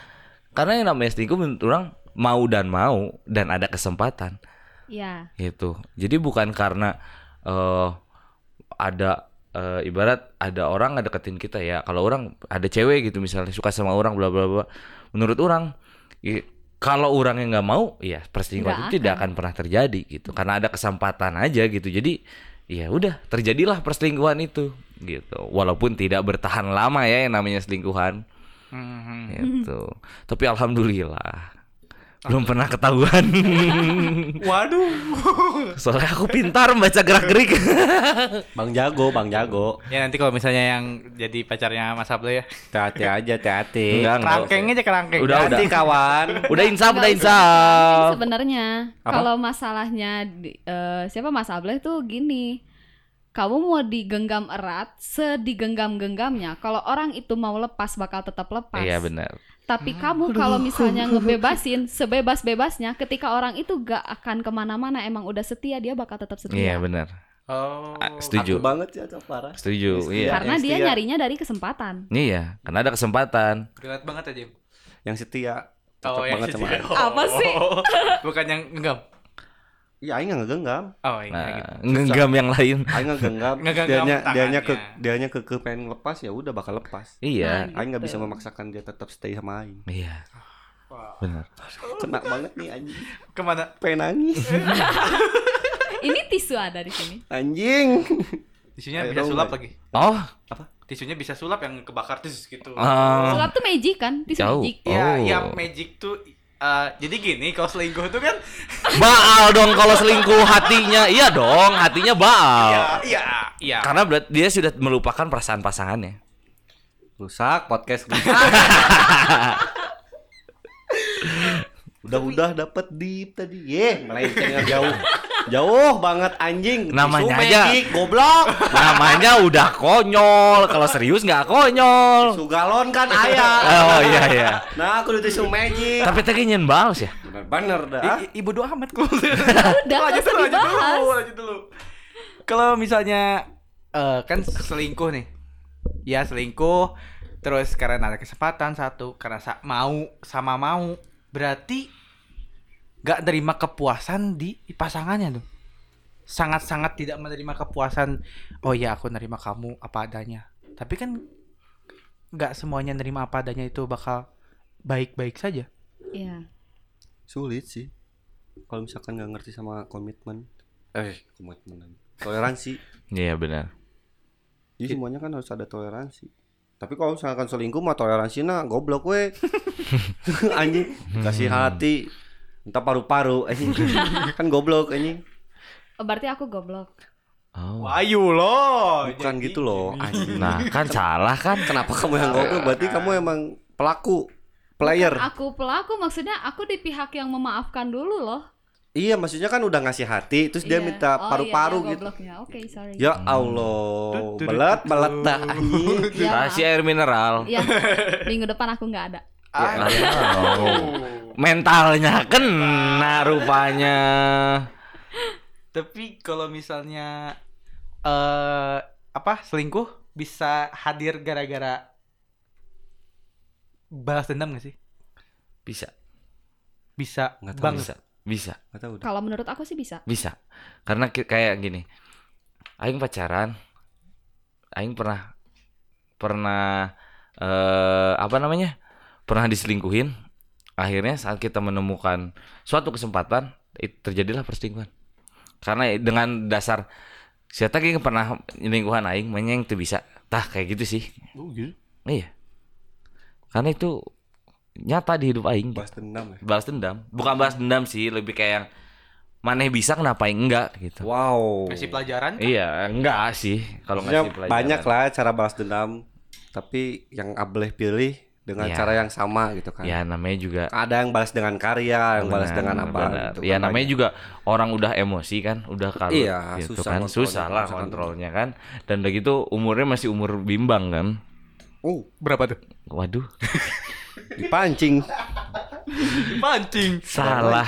Speaker 1: Karena yang namanya selingkuh menurut orang mau dan mau dan ada kesempatan
Speaker 4: Iya.
Speaker 1: gitu. Jadi bukan karena eh ada eh, ibarat ada orang nggak deketin kita ya. Kalau orang ada cewek gitu misalnya suka sama orang bla bla bla. Menurut orang i- kalau orang yang nggak mau ya perselingkuhan
Speaker 4: Nggak
Speaker 1: itu tidak
Speaker 4: akan.
Speaker 1: akan pernah terjadi gitu. Karena ada kesempatan aja gitu. Jadi ya udah terjadilah perselingkuhan itu gitu. Walaupun tidak bertahan lama
Speaker 4: Hmm.
Speaker 1: ya yang namanya selingkuhan
Speaker 3: Mhm.
Speaker 1: gitu. Tapi alhamdulillah belum pernah ketahuan <laughs>
Speaker 3: Waduh.
Speaker 1: soalnya aku pintar membaca gerak
Speaker 4: <laughs>
Speaker 1: gerik
Speaker 2: Bang Jago, Bang Jago.
Speaker 3: ya nanti kalau misalnya yang jadi pacarnya Mas Ablo ya.
Speaker 2: Hati-hati aja, hati-hati.
Speaker 1: Enggak, enggak.
Speaker 3: Kerangkeng aja kerangkeng.
Speaker 1: Udah,
Speaker 3: Nanti
Speaker 1: udah.
Speaker 3: kawan.
Speaker 1: udah insaf udah
Speaker 4: Nggak usah
Speaker 1: insaf
Speaker 4: ngomongin Sebenarnya
Speaker 2: Apa?
Speaker 4: kalau masalahnya di- eh, siapa Mas Ableh tuh gini. Kamu mau digenggam erat, sedigenggam-genggamnya. Kalau orang itu mau lepas bakal tetap lepas.
Speaker 1: iya benar
Speaker 4: Tapi kamu kalau misalnya ngebebasin sebebas-bebasnya, ketika orang itu gak akan kemana-mana, emang udah setia dia bakal tetap
Speaker 1: iya
Speaker 4: setia.
Speaker 1: benar
Speaker 3: Oh.
Speaker 1: Ah, setuju
Speaker 2: Aku banget sih atau parah.
Speaker 1: setuju iya
Speaker 4: Karena
Speaker 2: yang
Speaker 4: dia
Speaker 2: setia.
Speaker 4: nyarinya dari kesempatan.
Speaker 1: iya karena ada kesempatan
Speaker 3: Relate banget aja. Jim.
Speaker 2: Yang setia.
Speaker 4: Oh,
Speaker 2: Cocok
Speaker 3: yang
Speaker 2: banget
Speaker 3: <laughs>
Speaker 2: sama
Speaker 3: setia.
Speaker 2: Aing.
Speaker 4: Apa sih?
Speaker 3: Bukan yang genggam.
Speaker 2: Iya, aing enggak genggam.
Speaker 3: Oh, iya
Speaker 1: nah
Speaker 3: gitu.
Speaker 1: genggam yang lain
Speaker 4: Nah,
Speaker 2: Aing enggak
Speaker 4: <laughs>
Speaker 2: genggam.
Speaker 3: Ngegenggam
Speaker 2: dianya dianya ke
Speaker 3: tangannya.
Speaker 2: dianya ke, ke pengen lepas ya udah bakal lepas.
Speaker 1: iya
Speaker 2: Aing nggak bisa
Speaker 4: Gitu.
Speaker 2: memaksakan dia tetap stay sama aing.
Speaker 1: iya
Speaker 3: Wah.
Speaker 1: benar
Speaker 2: Kena banget nih anjing.
Speaker 3: Kemana?
Speaker 2: Pengen
Speaker 4: <laughs>
Speaker 2: nangis.
Speaker 4: Ini tisu ada di sini.
Speaker 2: Anjing.
Speaker 3: Tisunya
Speaker 2: Ayo
Speaker 3: bisa
Speaker 2: dong,
Speaker 3: sulap
Speaker 2: Mbak.
Speaker 3: lagi.
Speaker 1: oh
Speaker 3: Tisunya bisa sulap yang kebakar tis gitu.
Speaker 1: ah.
Speaker 4: Sulap tuh magic kan? Tisu
Speaker 1: Jauh.
Speaker 4: magic.
Speaker 3: Ya,
Speaker 1: Oh.
Speaker 3: yang magic tuh eh, jadi gini kalau selingkuh tuh kan
Speaker 1: Baal dong kalau selingkuh hatinya. Iya dong, hatinya
Speaker 2: Ah. Iya.
Speaker 1: baal.
Speaker 3: <laughs> ya ya ya.
Speaker 1: Karena berarti dia sudah melupakan perasaan pasangannya.
Speaker 2: Rusak podcast gue. <laughs> Udah-udah dapet deep tadi. Yeh, melencengnya jauh. Jauh banget anjing.
Speaker 1: Namanya
Speaker 2: Tisu
Speaker 1: aja.
Speaker 2: magic, goblok.
Speaker 1: Namanya udah konyol. Kalau serius nggak konyol.
Speaker 2: Tisu galon kan
Speaker 1: <laughs> Oh
Speaker 2: ayah.
Speaker 1: iya iya.
Speaker 2: Nah, aku udah tisu magic.
Speaker 1: Tapi tadi nyen baal sih. ya?
Speaker 2: Bener-bener dah.
Speaker 3: I- i- ibu doa amat kalau <laughs>
Speaker 4: nggak
Speaker 3: lanjut dulu, lanjut
Speaker 4: usah dibahas.
Speaker 3: dulu, lanjut dulu. Kalau misalnya eh, kan selingkuh nih, ya selingkuh, terus karena ada kesempatan satu, karena sa- mau sama mau, berarti nggak terima kepuasan di pasangannya tuh. Sangat-sangat tidak menerima kepuasan. Oh ya aku nerima kamu apa adanya. Tapi kan nggak semuanya nerima apa adanya itu bakal baik-baik saja.
Speaker 4: Iya.
Speaker 2: Sulit sih. Kalau misalkan nggak ngerti sama komitmen. Eh, komitmen lagi. Toleransi.
Speaker 1: Iya benar.
Speaker 2: Jadi semuanya kan harus ada toleransi. Tapi kalau misalkan selingkuh mah toleransinya goblok we. anjing, kasih hati. Entah paru-paru anjing. kan goblok anjing.
Speaker 4: Oh, Berarti aku goblok.
Speaker 1: Oh.
Speaker 3: Wayu loh.
Speaker 2: Bukan
Speaker 3: Oh, Jadi-
Speaker 2: gitu loh anjing.
Speaker 1: Nah kan salah kan.
Speaker 2: Kenapa kamu yang goblok? Berarti kamu emang pelaku, player.
Speaker 4: Aku pelaku maksudnya aku di pihak yang memaafkan dulu loh.
Speaker 2: Iya, maksudnya kan udah ngasih hati, terus dia
Speaker 4: Iya.
Speaker 2: minta
Speaker 4: Oh,
Speaker 2: paru-paru
Speaker 4: iya, iya,
Speaker 2: gitu.
Speaker 4: gobloknya. Oke, sorry.
Speaker 2: Ya Allah, belet belet dah anjing.
Speaker 4: Iya, maaf.
Speaker 1: Kasih air mineral. Iya.
Speaker 4: Iya. Minggu depan aku nggak ada.
Speaker 2: Ya, Iya.
Speaker 3: Ah, Oh.
Speaker 1: Mentalnya kena rupanya.
Speaker 3: Tapi kalau misalnya eh apa selingkuh bisa hadir gara-gara balas dendam gak sih?
Speaker 1: Bisa.
Speaker 3: Bisa
Speaker 2: Nggak tahu
Speaker 3: bang.
Speaker 1: Bisa. Bisa.
Speaker 2: Nggak tahu dah.
Speaker 4: Kalau menurut aku sih bisa.
Speaker 1: bisa karena ki- kayak gini aing pacaran aing pernah pernah eh apa namanya pernah diselingkuhin akhirnya saat kita menemukan suatu kesempatan it- terjadilah perselingkuhan karena dengan dasar siapa yang pernah selingkuhan aing menyeng tuh bisa tah kayak gitu sih iya karena itu nyata di hidup aing gitu.
Speaker 2: Bahas dendam ya.
Speaker 1: balas dendam bukan balas dendam sih lebih kayak yang maneh bisa kenapa enggak gitu
Speaker 2: Wow.
Speaker 3: Kasih
Speaker 2: Eh.
Speaker 3: pelajaran kan?
Speaker 1: iya enggak sih kalau
Speaker 2: Maksudnya
Speaker 1: ngasih pelajaran
Speaker 2: banyak lah cara balas dendam tapi yang ableh pilih dengan
Speaker 1: Iya.
Speaker 2: cara yang sama gitu kan
Speaker 1: ya namanya juga
Speaker 2: ada yang balas dengan karya yang balas
Speaker 1: benar,
Speaker 2: dengan
Speaker 1: benar,
Speaker 2: apa
Speaker 1: benar.
Speaker 2: gitu
Speaker 1: ya
Speaker 2: kan
Speaker 1: namanya
Speaker 2: banyak.
Speaker 1: juga orang udah emosi kan udah kalut
Speaker 2: Iya,
Speaker 1: gitu
Speaker 2: susah
Speaker 1: kan
Speaker 2: kontrolnya,
Speaker 1: susah lah
Speaker 2: susah
Speaker 1: kontrolnya kan dan udah gitu umurnya masih umur bimbang kan
Speaker 2: oh
Speaker 3: Berapa tuh?
Speaker 2: <laughs>
Speaker 1: waduh
Speaker 2: dipancing
Speaker 3: Mancing.
Speaker 1: salah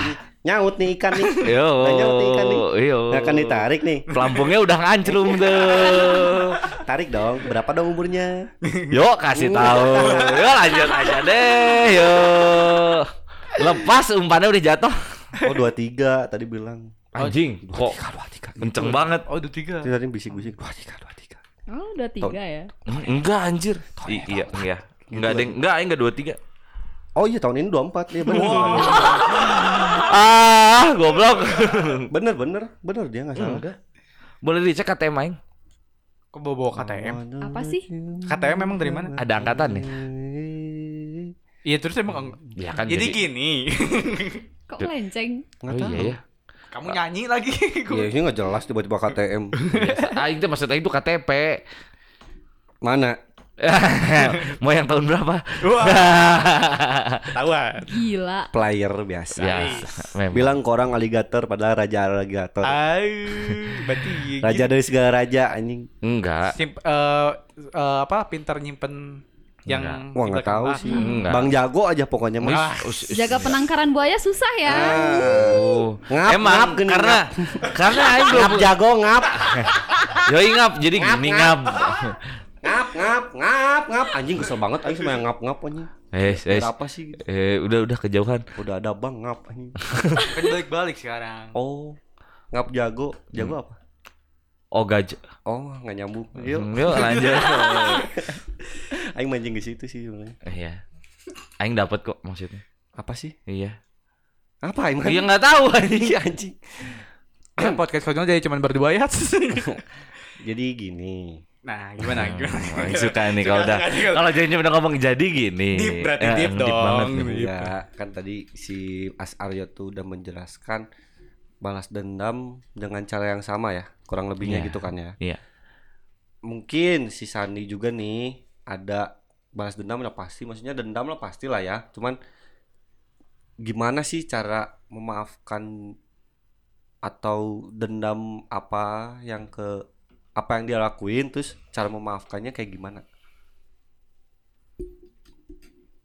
Speaker 2: nyaut nih ikan nih
Speaker 1: <laughs> yo
Speaker 2: Nah, nyaut nih ikan nih
Speaker 1: yo
Speaker 2: nggak akan ditarik nih
Speaker 1: pelampungnya udah ngancrum
Speaker 2: <laughs>
Speaker 1: tuh
Speaker 2: tarik dong berapa dong umurnya
Speaker 1: Yuk kasih tahu. Yuk lanjut aja deh. Yuk. Lepas umpannya udah jatuh. Oh,
Speaker 2: oh dua tiga tadi bilang
Speaker 1: Anjing, kok
Speaker 2: dua tiga
Speaker 1: kenceng banget.
Speaker 3: Oh, udah tiga.
Speaker 2: tadi bisik bisik dua tiga dua tiga
Speaker 4: Oh, udah tiga ya.
Speaker 1: Enggak anjir. I- iya, iya. Enggak deng, enggak, enggak dua tiga.
Speaker 2: oh iya tahun ini dua empat ya bener
Speaker 1: Ah, goblok.
Speaker 2: bener bener bener dia nggak salah
Speaker 1: Enggak. Boleh dicek KTM main.
Speaker 3: Kok
Speaker 2: Oh.
Speaker 3: bawa-bawa KTM?
Speaker 4: Apa sih?
Speaker 3: KTM memang dari mana?
Speaker 1: Ada angkatan ya?
Speaker 3: Iya terus emang
Speaker 2: Hmm.
Speaker 1: Ya kan
Speaker 5: Jadi
Speaker 1: jadi,
Speaker 5: gini,
Speaker 4: Kok melenceng?
Speaker 2: Nggak
Speaker 1: Oh
Speaker 2: tahu.
Speaker 1: iya ya.
Speaker 3: <laughs> kamu nyanyi lagi.
Speaker 2: Ya, ini nggak jelas tiba-tiba
Speaker 1: <laughs>
Speaker 2: KTM.
Speaker 1: Ah itu maksudnya itu <laughs> KTP.
Speaker 2: Mana?
Speaker 1: Mau yang tahun berapa? <laughs>
Speaker 5: wah ketahuan.
Speaker 4: Gila.
Speaker 2: Player biasa.
Speaker 1: ya, memang.
Speaker 2: Bilang korang aligator padahal raja aligator.
Speaker 1: Ah,
Speaker 5: Aduh, berarti ya
Speaker 1: iya.
Speaker 2: raja dari segala raja anjing.
Speaker 1: enggak.
Speaker 3: Simp, eh, eh, apa pintar nyimpen yang
Speaker 1: Enggak.
Speaker 2: Wah nggak tahu
Speaker 3: tiba-tiba-
Speaker 2: sih.
Speaker 1: Enggak.
Speaker 2: Bang jago aja pokoknya mah.
Speaker 3: Ah,
Speaker 1: Us- us-
Speaker 4: Jaga penangkaran buaya susah ya.
Speaker 2: Ah.
Speaker 1: Oh.
Speaker 2: Ngap, ngap,
Speaker 1: Emang
Speaker 2: gini,
Speaker 1: karena karena <laughs> aing
Speaker 2: Ngap
Speaker 1: belum
Speaker 2: jago ngap.
Speaker 1: Yoi ngap jadi gini ngap.
Speaker 2: Ngap ngap ngap ngap anjing kesel banget anjing sama yang ngap ngap anjing.
Speaker 1: Eh, eh,
Speaker 2: Ada apa sih?
Speaker 1: eh, udah udah kejauhan.
Speaker 2: Udah ada bang ngap anjing.
Speaker 3: kan balik-balik sekarang.
Speaker 2: Oh. <clears throat> Ngap jago, jago apa?
Speaker 1: Oh gaj.
Speaker 2: Oh, nggak nyambung. Yuk,
Speaker 1: Hmm. Yuk lanjut.
Speaker 2: <laughs> aing mancing ke situ sih sebenarnya.
Speaker 1: Iya. Aing dapat kok maksudnya.
Speaker 2: Apa sih?
Speaker 1: Iya.
Speaker 2: Apa aing?
Speaker 1: <laughs> Iya nggak tahu anjing.
Speaker 2: Iya anjing.
Speaker 3: Ya, podcast konyol jadi cuman berdua ya.
Speaker 2: Jadi gini.
Speaker 3: nah, gimana?
Speaker 1: <laughs>
Speaker 3: gimana?
Speaker 1: Hmm, Aing suka nih kalau udah
Speaker 5: suka, suka.
Speaker 1: kalau jadinya udah ngomong jadi gini.
Speaker 5: Deep, berarti
Speaker 1: Eh,
Speaker 5: deep
Speaker 1: banget
Speaker 5: dong.
Speaker 1: nih.
Speaker 5: Gitu.
Speaker 2: Enggak, kan tadi si As Aryo tuh udah menjelaskan balas dendam dengan cara yang sama ya, kurang lebihnya
Speaker 1: Iya.
Speaker 2: gitu kan ya.
Speaker 1: Iya.
Speaker 2: Mungkin si Sandi juga nih ada balas dendam lah pasti, maksudnya dendam lah pasti lah ya. Cuman gimana sih cara memaafkan atau dendam apa yang ke apa yang dia lakuin terus cara memaafkannya kayak gimana?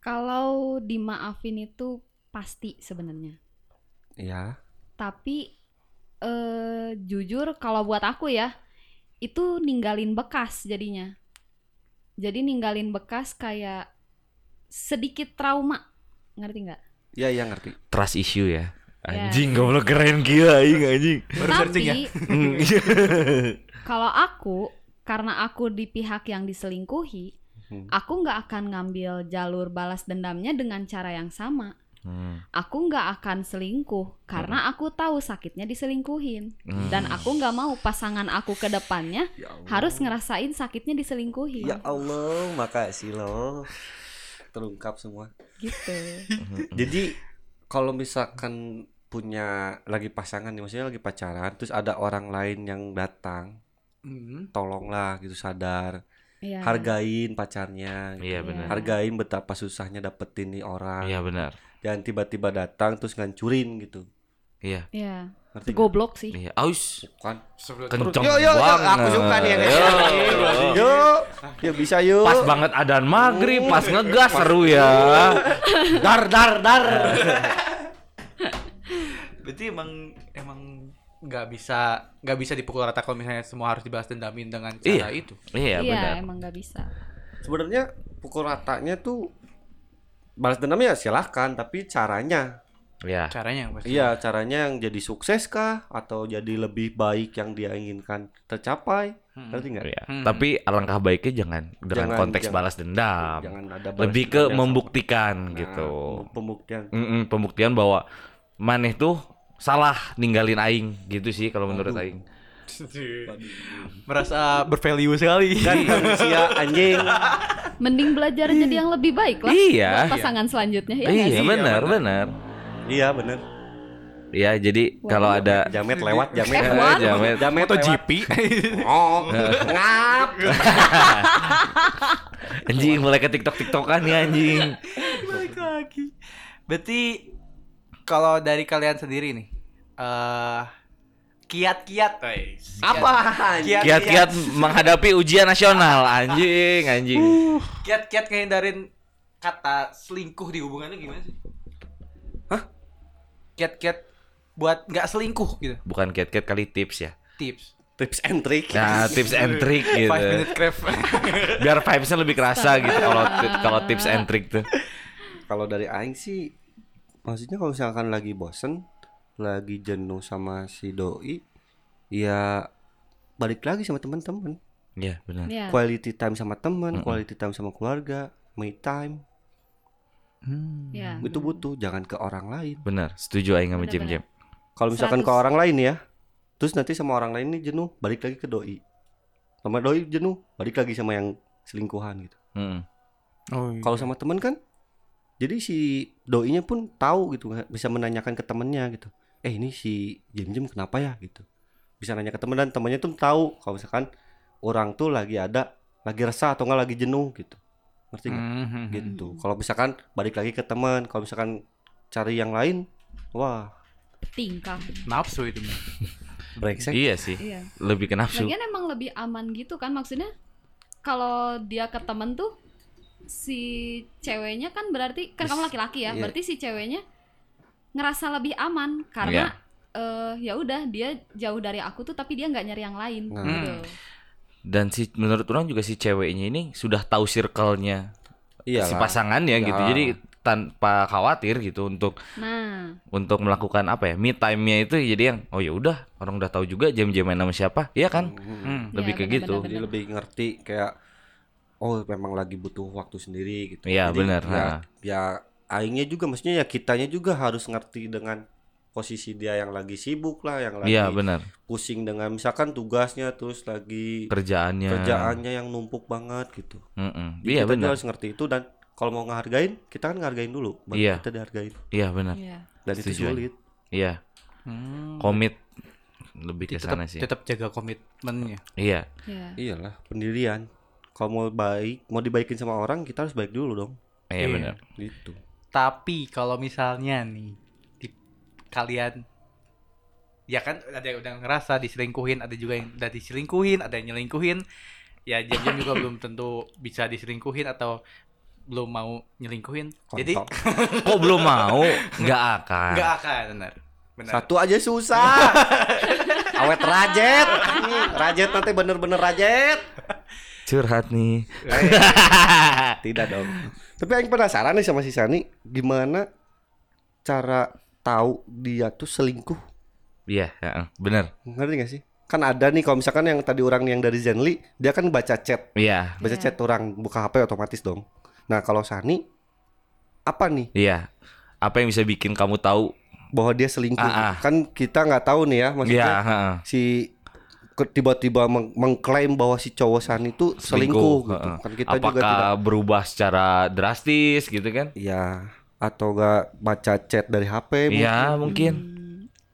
Speaker 4: Kalau dimaafin itu pasti sebenarnya.
Speaker 2: Ya,
Speaker 4: Tapi eh jujur kalau buat aku ya, itu ninggalin bekas jadinya. Jadi ninggalin bekas kayak sedikit trauma. Ngerti nggak?
Speaker 2: ya ya ngerti.
Speaker 1: Trust issue ya.
Speaker 4: Iya.
Speaker 1: Anjing goblok keren gila aing anjing.
Speaker 3: Baru
Speaker 4: Tapi
Speaker 3: searching ya. <laughs>
Speaker 4: kalau aku karena aku di pihak yang diselingkuhi,
Speaker 2: Hmm.
Speaker 4: aku nggak akan ngambil jalur balas dendamnya dengan cara yang sama.
Speaker 1: Hmm.
Speaker 4: Aku nggak akan selingkuh
Speaker 3: Hmm.
Speaker 4: karena aku tahu sakitnya diselingkuhin
Speaker 1: Hmm.
Speaker 4: dan aku nggak mau pasangan aku ke depannya
Speaker 2: Ya Allah.
Speaker 4: harus ngerasain sakitnya diselingkuhi.
Speaker 2: Ya Allah, makasih loh. Terungkap semua.
Speaker 1: Hmm.
Speaker 4: Gitu.
Speaker 2: Jadi kalau misalkan punya lagi pasangan nih, maksudnya lagi pacaran, terus ada orang lain yang datang,
Speaker 3: Hmm.
Speaker 2: tolonglah gitu sadar,
Speaker 4: Iya.
Speaker 2: hargain pacarnya, gitu.
Speaker 1: Iya benar.
Speaker 2: hargain betapa susahnya dapetin nih orang,
Speaker 1: Iya benar.
Speaker 2: jangan tiba-tiba datang terus ngancurin gitu,
Speaker 1: Iya.
Speaker 4: Iya.
Speaker 2: ngerti? nggak?
Speaker 4: Goblok sih.
Speaker 1: Iya. Aus.
Speaker 2: Bukan.
Speaker 1: Kenceng
Speaker 2: Yo, yo, yo,
Speaker 1: banget.
Speaker 2: aku suka nih yang kayak
Speaker 1: Yo.
Speaker 2: gini. Yo, ya bisa yuk.
Speaker 1: Pas banget adan maghrib, pas ngegas seru
Speaker 4: <laughs>
Speaker 1: ya.
Speaker 2: Dar, dar, dar.
Speaker 3: Berarti emang emang nggak bisa nggak bisa dipukul rata kalau misalnya semua harus dibalas dendamin dengan
Speaker 1: Iya.
Speaker 3: cara itu.
Speaker 1: Iya benar.
Speaker 4: Iya, emang nggak bisa.
Speaker 2: sebenarnya pukul ratanya tuh balas dendam ya silahkan tapi caranya
Speaker 1: Iya.
Speaker 3: Caranya yang pasti.
Speaker 2: iya caranya yang jadi sukses kah atau jadi lebih baik yang dia inginkan tercapai ngerti nggak
Speaker 1: Iya.
Speaker 3: Hmm.
Speaker 1: Tapi alangkah baiknya jangan dengan
Speaker 2: Jangan,
Speaker 1: konteks
Speaker 2: jangan.
Speaker 1: balas dendam.
Speaker 2: jangan ada balas
Speaker 1: um, Lebih ke
Speaker 2: dendam yang
Speaker 1: membuktikan
Speaker 2: sama.
Speaker 1: gitu.
Speaker 2: Nah, pembuktian
Speaker 1: Mm-mm, pembuktian bahwa maneh tuh salah ninggalin aing gitu sih kalau menurut aing.
Speaker 3: Merasa bervalue sekali.
Speaker 2: kan <laughs> manusia anjing
Speaker 4: Mending belajar jadi yang lebih baik lah.
Speaker 1: Iya.
Speaker 4: buat pasangan selanjutnya ya. nggak
Speaker 1: Iya,
Speaker 4: sih?
Speaker 1: benar, benar.
Speaker 2: iya bener
Speaker 1: Ya, jadi kalau ada
Speaker 2: jamet
Speaker 3: <laughs>
Speaker 2: lewat jamet
Speaker 4: F1.
Speaker 2: lewat.
Speaker 1: Jamet.
Speaker 2: jamet lewat.
Speaker 3: MotoGP.
Speaker 2: <laughs> oh ngap
Speaker 1: <laughs> anjing mulai ke TikTok TikTokan ya anjing.
Speaker 3: Balik lagi. Berarti kalau dari kalian sendiri nih eh kiat-kiat guys.
Speaker 2: apa
Speaker 1: Kiat-kiat menghadapi ujian nasional anjing, anjing.
Speaker 2: Uh.
Speaker 3: kiat-kiat ngehindarin kata selingkuh di hubungannya gimana sih? Hah? Kiat-kiat buat nggak selingkuh gitu.
Speaker 1: Bukan kiat-kiat kali tips ya.
Speaker 3: Tips.
Speaker 2: tips and trick
Speaker 1: Nah, tips and trick gitu.
Speaker 3: Five minute
Speaker 1: <laughs>
Speaker 3: craft.
Speaker 1: Biar vibes-nya lebih kerasa gitu kalau ti- kalau tips and trick tuh.
Speaker 2: kalau dari aing sih maksudnya kalau misalkan lagi bosen lagi jenuh sama si doi ya balik lagi sama teman-teman
Speaker 1: Iya, benar.
Speaker 4: Iya.
Speaker 2: quality time sama teman quality time sama keluarga me time
Speaker 1: Hmm.
Speaker 4: Iya.
Speaker 2: itu butuh jangan ke orang lain
Speaker 1: Benar, setuju aing sama
Speaker 4: Benar,
Speaker 1: Jim Jim.
Speaker 2: kalau misalkan ke
Speaker 4: Seratus.
Speaker 2: orang lain ya terus nanti sama orang lain ini jenuh balik lagi ke doi sama doi jenuh balik lagi sama yang selingkuhan gitu
Speaker 1: Mm.
Speaker 3: Oh, iya.
Speaker 2: kalau sama teman kan jadi si doinya pun tahu gitu nggak- bisa menanyakan ke temennya gitu eh ini si Jim Jim kenapa ya gitu bisa nanya ke temen dan temennya tuh tahu kalau misalkan orang tuh lagi ada lagi resah atau nggak lagi jenuh gitu ngerti nggak
Speaker 3: Mhm.
Speaker 2: gitu
Speaker 1: Hmm.
Speaker 2: kalau misalkan balik lagi ke teman kalau misalkan cari yang lain wah
Speaker 4: tingkah
Speaker 3: Nafsu itu. Bang.
Speaker 2: brengsek
Speaker 1: Iya sih,
Speaker 4: iya
Speaker 1: lebih ke nafsu.
Speaker 4: lagian emang lebih aman gitu kan maksudnya kalau dia ke temen tuh si ceweknya kan berarti kan kamu
Speaker 2: Yes.
Speaker 4: laki-laki ya
Speaker 2: Iya.
Speaker 4: berarti si ceweknya ngerasa lebih aman karena eh, ya udah dia jauh dari aku tuh tapi dia nggak nyari yang lain
Speaker 2: Nah.
Speaker 1: hmm.
Speaker 4: gitu
Speaker 1: Dan si menurut orang juga si ceweknya ini sudah tahu circle-nya si
Speaker 2: Iyalah.
Speaker 1: pasangannya gitu.
Speaker 2: Iyalah.
Speaker 1: Jadi tanpa khawatir gitu untuk
Speaker 4: nah
Speaker 1: untuk melakukan apa ya? Me time-nya itu jadi yang oh ya udah, orang udah tahu juga jam-jaman sama siapa. Iya kan?
Speaker 2: Mm.
Speaker 3: Hmm.
Speaker 1: Lebih
Speaker 4: Iya,
Speaker 1: ke gitu.
Speaker 4: benar-benar.
Speaker 2: jadi lebih ngerti kayak oh memang lagi butuh waktu sendiri gitu
Speaker 1: Iya,
Speaker 2: Jadi
Speaker 1: benar.
Speaker 2: ya,
Speaker 1: Nah.
Speaker 2: ya aingnya juga maksudnya ya kitanya juga harus ngerti dengan posisi dia yang lagi sibuk lah yang lagi
Speaker 1: Iya, benar.
Speaker 2: pusing dengan misalkan tugasnya terus lagi
Speaker 1: Kerjaannya.
Speaker 2: kerjaannya yang numpuk banget gitu
Speaker 1: Mm-mm.
Speaker 2: Jadi
Speaker 1: Iya,
Speaker 2: kita juga
Speaker 1: benar.
Speaker 2: harus ngerti itu dan kalau mau ngehargain kita kan ngehargain dulu baru
Speaker 1: Iya.
Speaker 2: kita dihargain
Speaker 1: Iya, benar.
Speaker 4: iya.
Speaker 2: dan itu
Speaker 1: Setuju, Aing.
Speaker 2: sulit
Speaker 1: Iya,
Speaker 3: Hmm.
Speaker 1: komit lebih ke
Speaker 3: tetap
Speaker 1: sana sih.
Speaker 3: tetap jaga komitmennya.
Speaker 1: Iya.
Speaker 4: Iya.
Speaker 2: iyalah pendirian kalau mau baik mau dibaikin sama orang kita harus baik dulu dong
Speaker 1: Iya,
Speaker 3: Iya.
Speaker 1: benar.
Speaker 2: gitu
Speaker 3: Tapi kalau misalnya nih di, kalian ya kan ada yang udah ngerasa diselingkuhin, ada juga yang udah diselingkuhin, ada yang nyelingkuhin. Ya jam-jam juga belum tentu bisa diselingkuhin atau belum mau nyelingkuhin. Jadi
Speaker 2: Kontol.
Speaker 1: Kok belum mau? Nggak akan.
Speaker 3: nggak akan benar. Benar.
Speaker 2: Satu aja susah. <laughs> Awet rajet. Anjing, Rajet nanti bener-bener rajet.
Speaker 1: Curhat nih.
Speaker 2: Tidak dong. Tapi yang penasaran nih sama si Sani, gimana cara tahu dia tuh selingkuh?
Speaker 1: <laughs> Iya, heeh, bener.
Speaker 2: Ngerti gak sih? Kan ada nih kalau misalkan yang tadi orang yang dari Zenly, dia kan baca chat.
Speaker 1: Iya,
Speaker 2: Baca
Speaker 4: Iya.
Speaker 2: chat orang buka HP otomatis dong. Nah, kalau Sani apa nih
Speaker 1: iya. Apa yang bisa bikin kamu tahu?
Speaker 2: bahwa dia selingkuh?
Speaker 1: Ah, ah.
Speaker 2: Kan kita nggak tahu nih ya maksudnya.
Speaker 1: Iya, heeh.
Speaker 2: si ke- tiba-tiba meng- mengklaim bahwa si cowok Sani itu
Speaker 1: Selingkuh,
Speaker 2: selingkuh, gitu.
Speaker 1: heeh.
Speaker 2: Kan kita juga tidak
Speaker 1: Apakah berubah secara drastis gitu kan?
Speaker 2: ya atau gak baca chat dari HP
Speaker 1: Iya, mungkin.
Speaker 4: Hmm,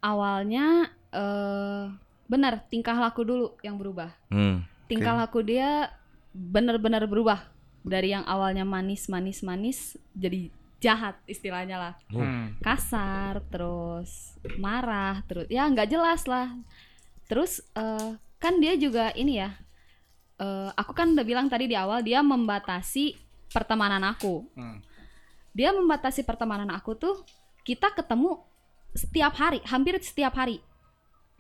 Speaker 4: awalnya eh benar tingkah laku dulu yang berubah
Speaker 1: Hmm.
Speaker 4: tingkah laku dia benar-benar berubah dari yang awalnya manis manis manis jadi jahat istilahnya lah
Speaker 3: Hmm.
Speaker 4: kasar terus marah terus ya nggak jelas lah terus eh, kan dia juga ini ya eh, aku kan udah bilang tadi di awal dia membatasi pertemanan aku
Speaker 3: Hmm.
Speaker 4: dia membatasi pertemanan aku tuh kita ketemu setiap hari hampir setiap hari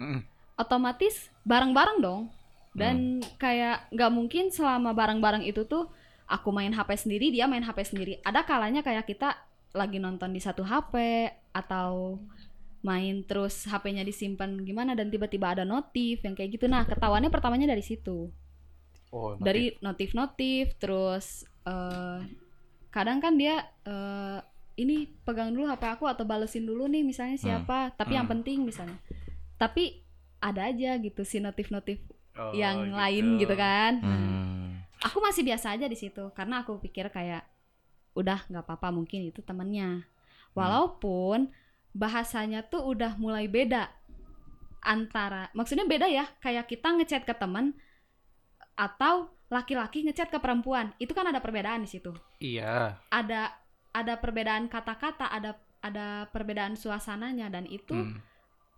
Speaker 3: Mm.
Speaker 4: otomatis bareng-bareng dong dan kayak nggak mungkin selama bareng-bareng itu tuh aku main HP sendiri dia main HP sendiri ada kalanya kayak kita lagi nonton di satu HP atau main terus HP-nya disimpan gimana dan tiba-tiba ada notif yang kayak gitu nah ketahuannya pertamanya dari situ
Speaker 3: Oh, notif.
Speaker 4: dari notif-notif terus eh, kadang kan dia eh, ini pegang dulu HP aku atau balesin dulu nih misalnya siapa tapi yang
Speaker 3: Hmm.
Speaker 4: penting misalnya tapi ada aja gitu si notif-notif
Speaker 3: Oh,
Speaker 4: yang lain gitu kan
Speaker 1: Hmm.
Speaker 4: aku masih biasa aja di situ karena aku pikir kayak udah nggak apa-apa mungkin itu temennya walaupun bahasanya tuh udah mulai beda antara maksudnya beda ya kayak kita ngechat ke teman atau laki-laki ngechat ke perempuan itu kan ada perbedaan di situ
Speaker 3: Iya.
Speaker 4: ada ada perbedaan kata-kata ada ada perbedaan suasananya dan itu
Speaker 3: Hmm.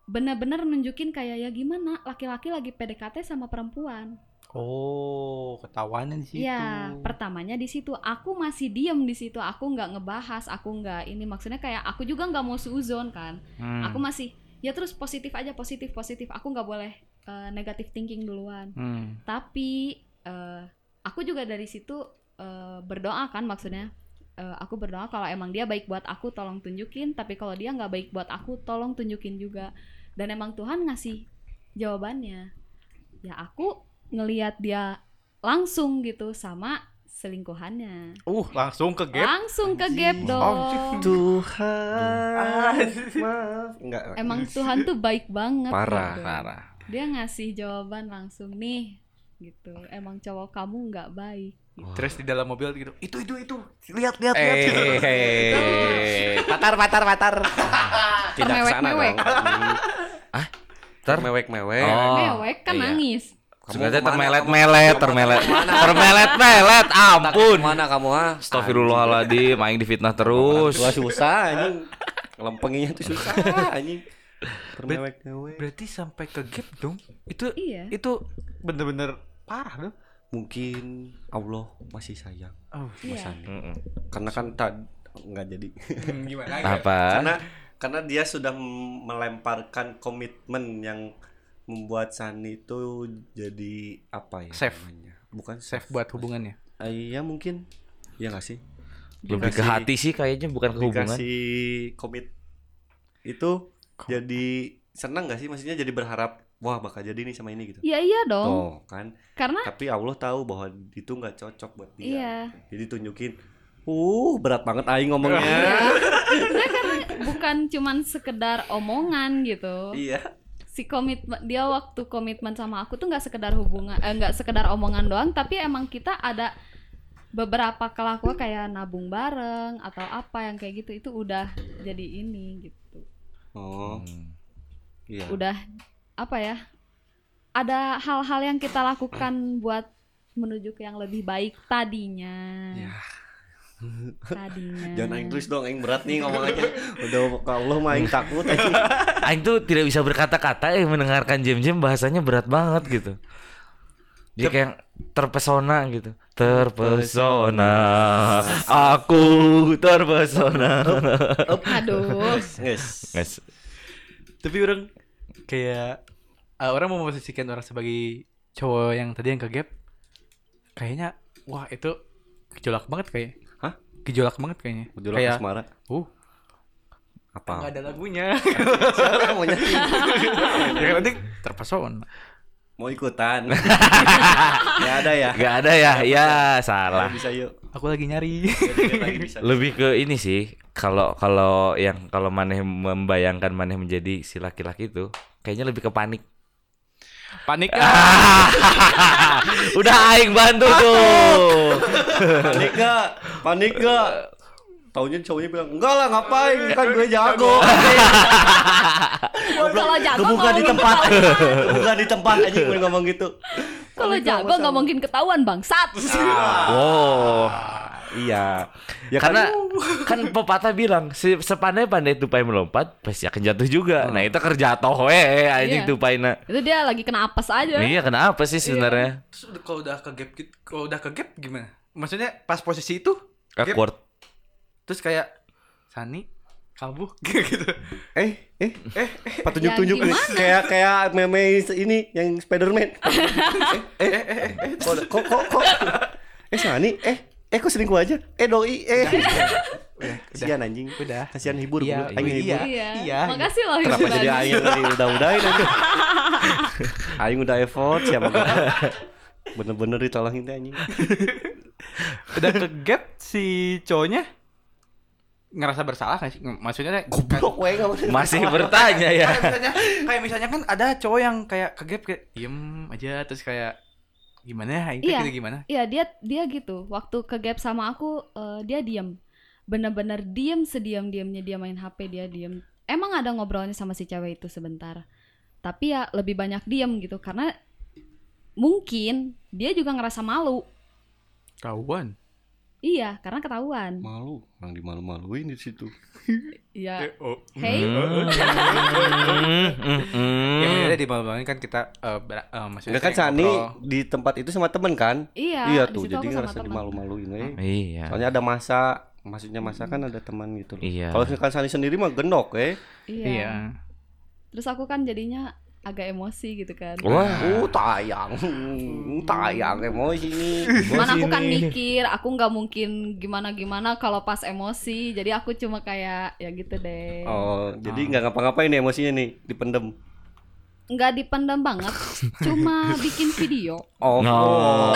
Speaker 4: benar-benar nunjukin kayak ya gimana laki-laki lagi PDKT sama perempuan
Speaker 3: Oh, ketahuan di situ.
Speaker 4: Iya, pertamanya di situ aku masih diem di situ, aku nggak ngebahas, aku nggak ini maksudnya kayak aku juga nggak mau suzon kan,
Speaker 3: Hmm.
Speaker 4: aku masih ya terus positif aja positif positif, aku nggak boleh eh, negative thinking duluan.
Speaker 3: Hmm.
Speaker 4: Tapi eh, aku juga dari situ eh, berdoa kan maksudnya, Eh, aku berdoa kalau emang dia baik buat aku tolong tunjukin, tapi kalau dia nggak baik buat aku tolong tunjukin juga. Dan emang Tuhan ngasih jawabannya. Ya aku ngelihat dia langsung gitu sama selingkuhannya.
Speaker 3: Uh, langsung ke gap.
Speaker 4: Langsung ke gap
Speaker 2: Anjing. Oh,
Speaker 4: dong. <laughs>
Speaker 2: Tuhan maaf enggak
Speaker 4: Emang Tuhan tuh baik banget.
Speaker 2: Parah,
Speaker 4: gitu. Dia ngasih jawaban langsung nih gitu. Emang cowok kamu nggak baik
Speaker 3: Terus di dalam mobil gitu, itu itu itu, lihat lihat lihat.
Speaker 1: Eh,
Speaker 3: gitu.
Speaker 2: Eh, patar patar
Speaker 4: <laughs>
Speaker 2: patar. Tidak ke sana
Speaker 4: Termewek-mewek.
Speaker 2: dong. Hmm.
Speaker 1: <laughs> Ah? Ter-
Speaker 2: Termewek mewek.
Speaker 1: Oh.
Speaker 4: Mewek kan
Speaker 1: iya.
Speaker 4: nangis.
Speaker 1: Sebenarnya termelet-melet, termelet, termelet-melet, ampun.
Speaker 2: Mana kamu ah?
Speaker 1: Astagfirullahaladzim, aing difitnah terus.
Speaker 2: Gua susah anjing. Lempenginya tuh susah anjing. Termewek mewek.
Speaker 3: Berarti sampai ke gap dong. Itu
Speaker 4: Iya.
Speaker 3: itu bener-bener parah dong.
Speaker 2: Mungkin Allah masih sayang
Speaker 3: Oh,
Speaker 4: Iya.
Speaker 2: sama Sandi.
Speaker 1: Mm-mm.
Speaker 2: Karena kan tak nggak jadi.
Speaker 3: hmm, gimana? ya?
Speaker 1: Apa?
Speaker 2: Karena karena dia sudah m- melemparkan komitmen yang membuat Sandi itu jadi apa ya?
Speaker 3: Safe.
Speaker 2: namanya? Bukan
Speaker 3: Safe buat hubungannya.
Speaker 2: Eh, Iya mungkin. Ya nggak sih?
Speaker 1: Lebih ke hati sih kayaknya bukan ke hubungan.
Speaker 2: dikasih komit itu jadi senang gak sih maksudnya jadi berharap wah bakal jadi nih sama ini gitu
Speaker 4: Ya iya dong.
Speaker 2: Tuh, kan
Speaker 4: Karena
Speaker 2: tapi Allah tahu bahwa itu nggak cocok buat dia
Speaker 4: Iya.
Speaker 2: jadi tunjukin uh berat banget aing <laughs> ngomongnya
Speaker 4: ya, Nggak, karena bukan cuman sekedar omongan gitu.
Speaker 2: iya
Speaker 4: Si komitmen dia waktu komitmen sama aku tuh nggak sekedar hubungan, eh, nggak sekedar omongan doang, tapi emang kita ada beberapa kelakuan kayak nabung bareng atau apa yang kayak gitu itu udah jadi ini gitu.
Speaker 2: oh
Speaker 1: Hmm.
Speaker 2: iya
Speaker 4: udah apa ya ada hal-hal yang kita lakukan buat menuju ke yang lebih baik tadinya
Speaker 2: Ya.
Speaker 4: tadinya
Speaker 2: <laughs> jangan aing terus dong aing berat nih ngomongannya udah ke Allah mah aing takut aing.
Speaker 1: Aing tuh tidak bisa berkata-kata eh mendengarkan jam-jam bahasanya berat banget gitu. Dia kayak terpesona gitu. Terpesona. Aku terpesona.
Speaker 4: aduh
Speaker 2: Yes.
Speaker 1: Guys,
Speaker 3: Tapi orang kayak eh, orang mau memposisikan orang sebagai cowok yang tadi yang ke gap. Kayaknya wah itu gejolak banget kayak.
Speaker 2: Hah?
Speaker 3: Gejolak banget kayaknya.
Speaker 2: Gejolak
Speaker 3: kayak
Speaker 2: asmara
Speaker 3: uh nggak
Speaker 2: apa
Speaker 3: ada lagunya.
Speaker 2: <laughs> Siapa yang mau nyanyi?
Speaker 3: <laughs> ya kan nanti terpesona.
Speaker 2: mau <laughs> ikutan ya ada ya
Speaker 1: Gak ada ya, ya salah.
Speaker 2: Ayo, bisa yuk
Speaker 3: Aku lagi nyari.
Speaker 2: Dikit lagi bisa
Speaker 1: lebih ke ini sih kalau kalau yang kalau maneh membayangkan maneh menjadi si laki-laki itu kayaknya lebih ke panik
Speaker 3: Panik. <laughs>
Speaker 1: udah aing bantu tuh
Speaker 2: panik gak? Panik gak? Taunya cowoknya bilang, enggak lah ngapain, kan gue <laughs> jago
Speaker 4: kalau jago
Speaker 2: Kebuka
Speaker 4: nggak
Speaker 2: di
Speaker 4: mungkin <laughs>
Speaker 2: tempat,
Speaker 4: ketahuan.
Speaker 2: kebuka di tempat aja gue ngomong gitu
Speaker 4: kalau jago nggak mungkin ketahuan
Speaker 2: <laughs>
Speaker 4: bangsat
Speaker 1: wow
Speaker 2: Iya Ya
Speaker 1: karena kan pepatah bilang se- sepandai-pandai tupai melompat pasti akan jatuh juga
Speaker 2: Hmm.
Speaker 1: nah itu kerja toh eh anjing
Speaker 4: Iya.
Speaker 1: tupai na
Speaker 4: itu dia lagi kena apes aja
Speaker 1: iya kenapa sih sebenarnya
Speaker 3: Terus udah- kalau udah ke gap gitu, kalau udah ke gap gimana? Maksudnya pas posisi itu
Speaker 1: awkward
Speaker 3: terus kayak Sani <laughs> kamu gitu.
Speaker 2: Eh, eh, eh, patunjuk-tunjuk
Speaker 4: Ya,
Speaker 2: nih Kayak kayak meme ini yang
Speaker 4: <laughs>
Speaker 2: Spiderman
Speaker 4: eh,
Speaker 2: Eh, eh, eh, eh, kok, kok, kok, kok? Eh, Sani, eh, eh kok selingkuh aja? Eh, doi, eh Kasihan anjing
Speaker 3: Udah.
Speaker 2: Kasihan hibur,
Speaker 3: Iya,
Speaker 2: bulu. Aing hibur.
Speaker 3: iya.
Speaker 4: iya
Speaker 3: Iya.
Speaker 4: makasih loh
Speaker 2: Kenapa
Speaker 4: hiburan.
Speaker 2: jadi Aing yang tadi udah-udahin aja <laughs> Aing udah effort siapa <laughs> gua. Bener-bener ditolongin teh anjing
Speaker 3: Udah ke gap si cowoknya ngerasa bersalah gak sih? Maksudnya
Speaker 2: Goblok wae gak maksudnya
Speaker 1: masih bertanya ya
Speaker 3: <laughs> kayak misalnya kayak misalnya kan ada cowok yang kayak ke gap kayak diem aja terus kayak gimana ya itu
Speaker 4: Iya.
Speaker 3: gitu gimana?
Speaker 4: Iya dia dia gitu. Waktu ke gap sama aku eh, dia diam. Bener-bener diam sediam diamnya dia main HP dia diam. Emang ada ngobrolnya sama si cewek itu sebentar. Tapi ya lebih banyak diam gitu karena mungkin dia juga ngerasa malu.
Speaker 3: Kawan.
Speaker 4: Iya, karena ketahuan.
Speaker 2: Malu, orang dimalu-maluin di situ
Speaker 4: Iya.
Speaker 3: oh.
Speaker 4: Hey,
Speaker 1: Hmm, hmm, hmm.
Speaker 3: Ya maksudnya di malam kan kita eh, ber- eh, maksudnya
Speaker 2: Enggak kan
Speaker 3: sering
Speaker 2: Sani
Speaker 3: ngobrol.
Speaker 2: di tempat itu sama temen kan
Speaker 4: iya.
Speaker 2: Iya
Speaker 4: di
Speaker 2: tuh,
Speaker 4: situ
Speaker 2: jadi
Speaker 4: aku sama
Speaker 2: ngerasa
Speaker 4: temen.
Speaker 2: dimalu-maluin eh. we.
Speaker 1: iya
Speaker 2: Soalnya ada masa Maksudnya masa kan ada teman gitu loh
Speaker 1: Iya.
Speaker 2: Kalau misalkan Sani sendiri mah gendok ya
Speaker 4: Iya.
Speaker 3: Iya.
Speaker 4: Terus aku kan jadinya agak emosi gitu kan.
Speaker 1: wah
Speaker 2: Uh tayang Hmm, Tayang emosi nih
Speaker 4: Cuman aku kan mikir, aku nggak mungkin gimana-gimana kalau pas emosi. Jadi aku cuma kayak ya gitu deh.
Speaker 2: Oh, jadi nggak ngapa-ngapain nih emosinya nih dipendem.
Speaker 4: nggak dipendam banget, cuma bikin video.
Speaker 2: Oh. <laughs>
Speaker 1: No.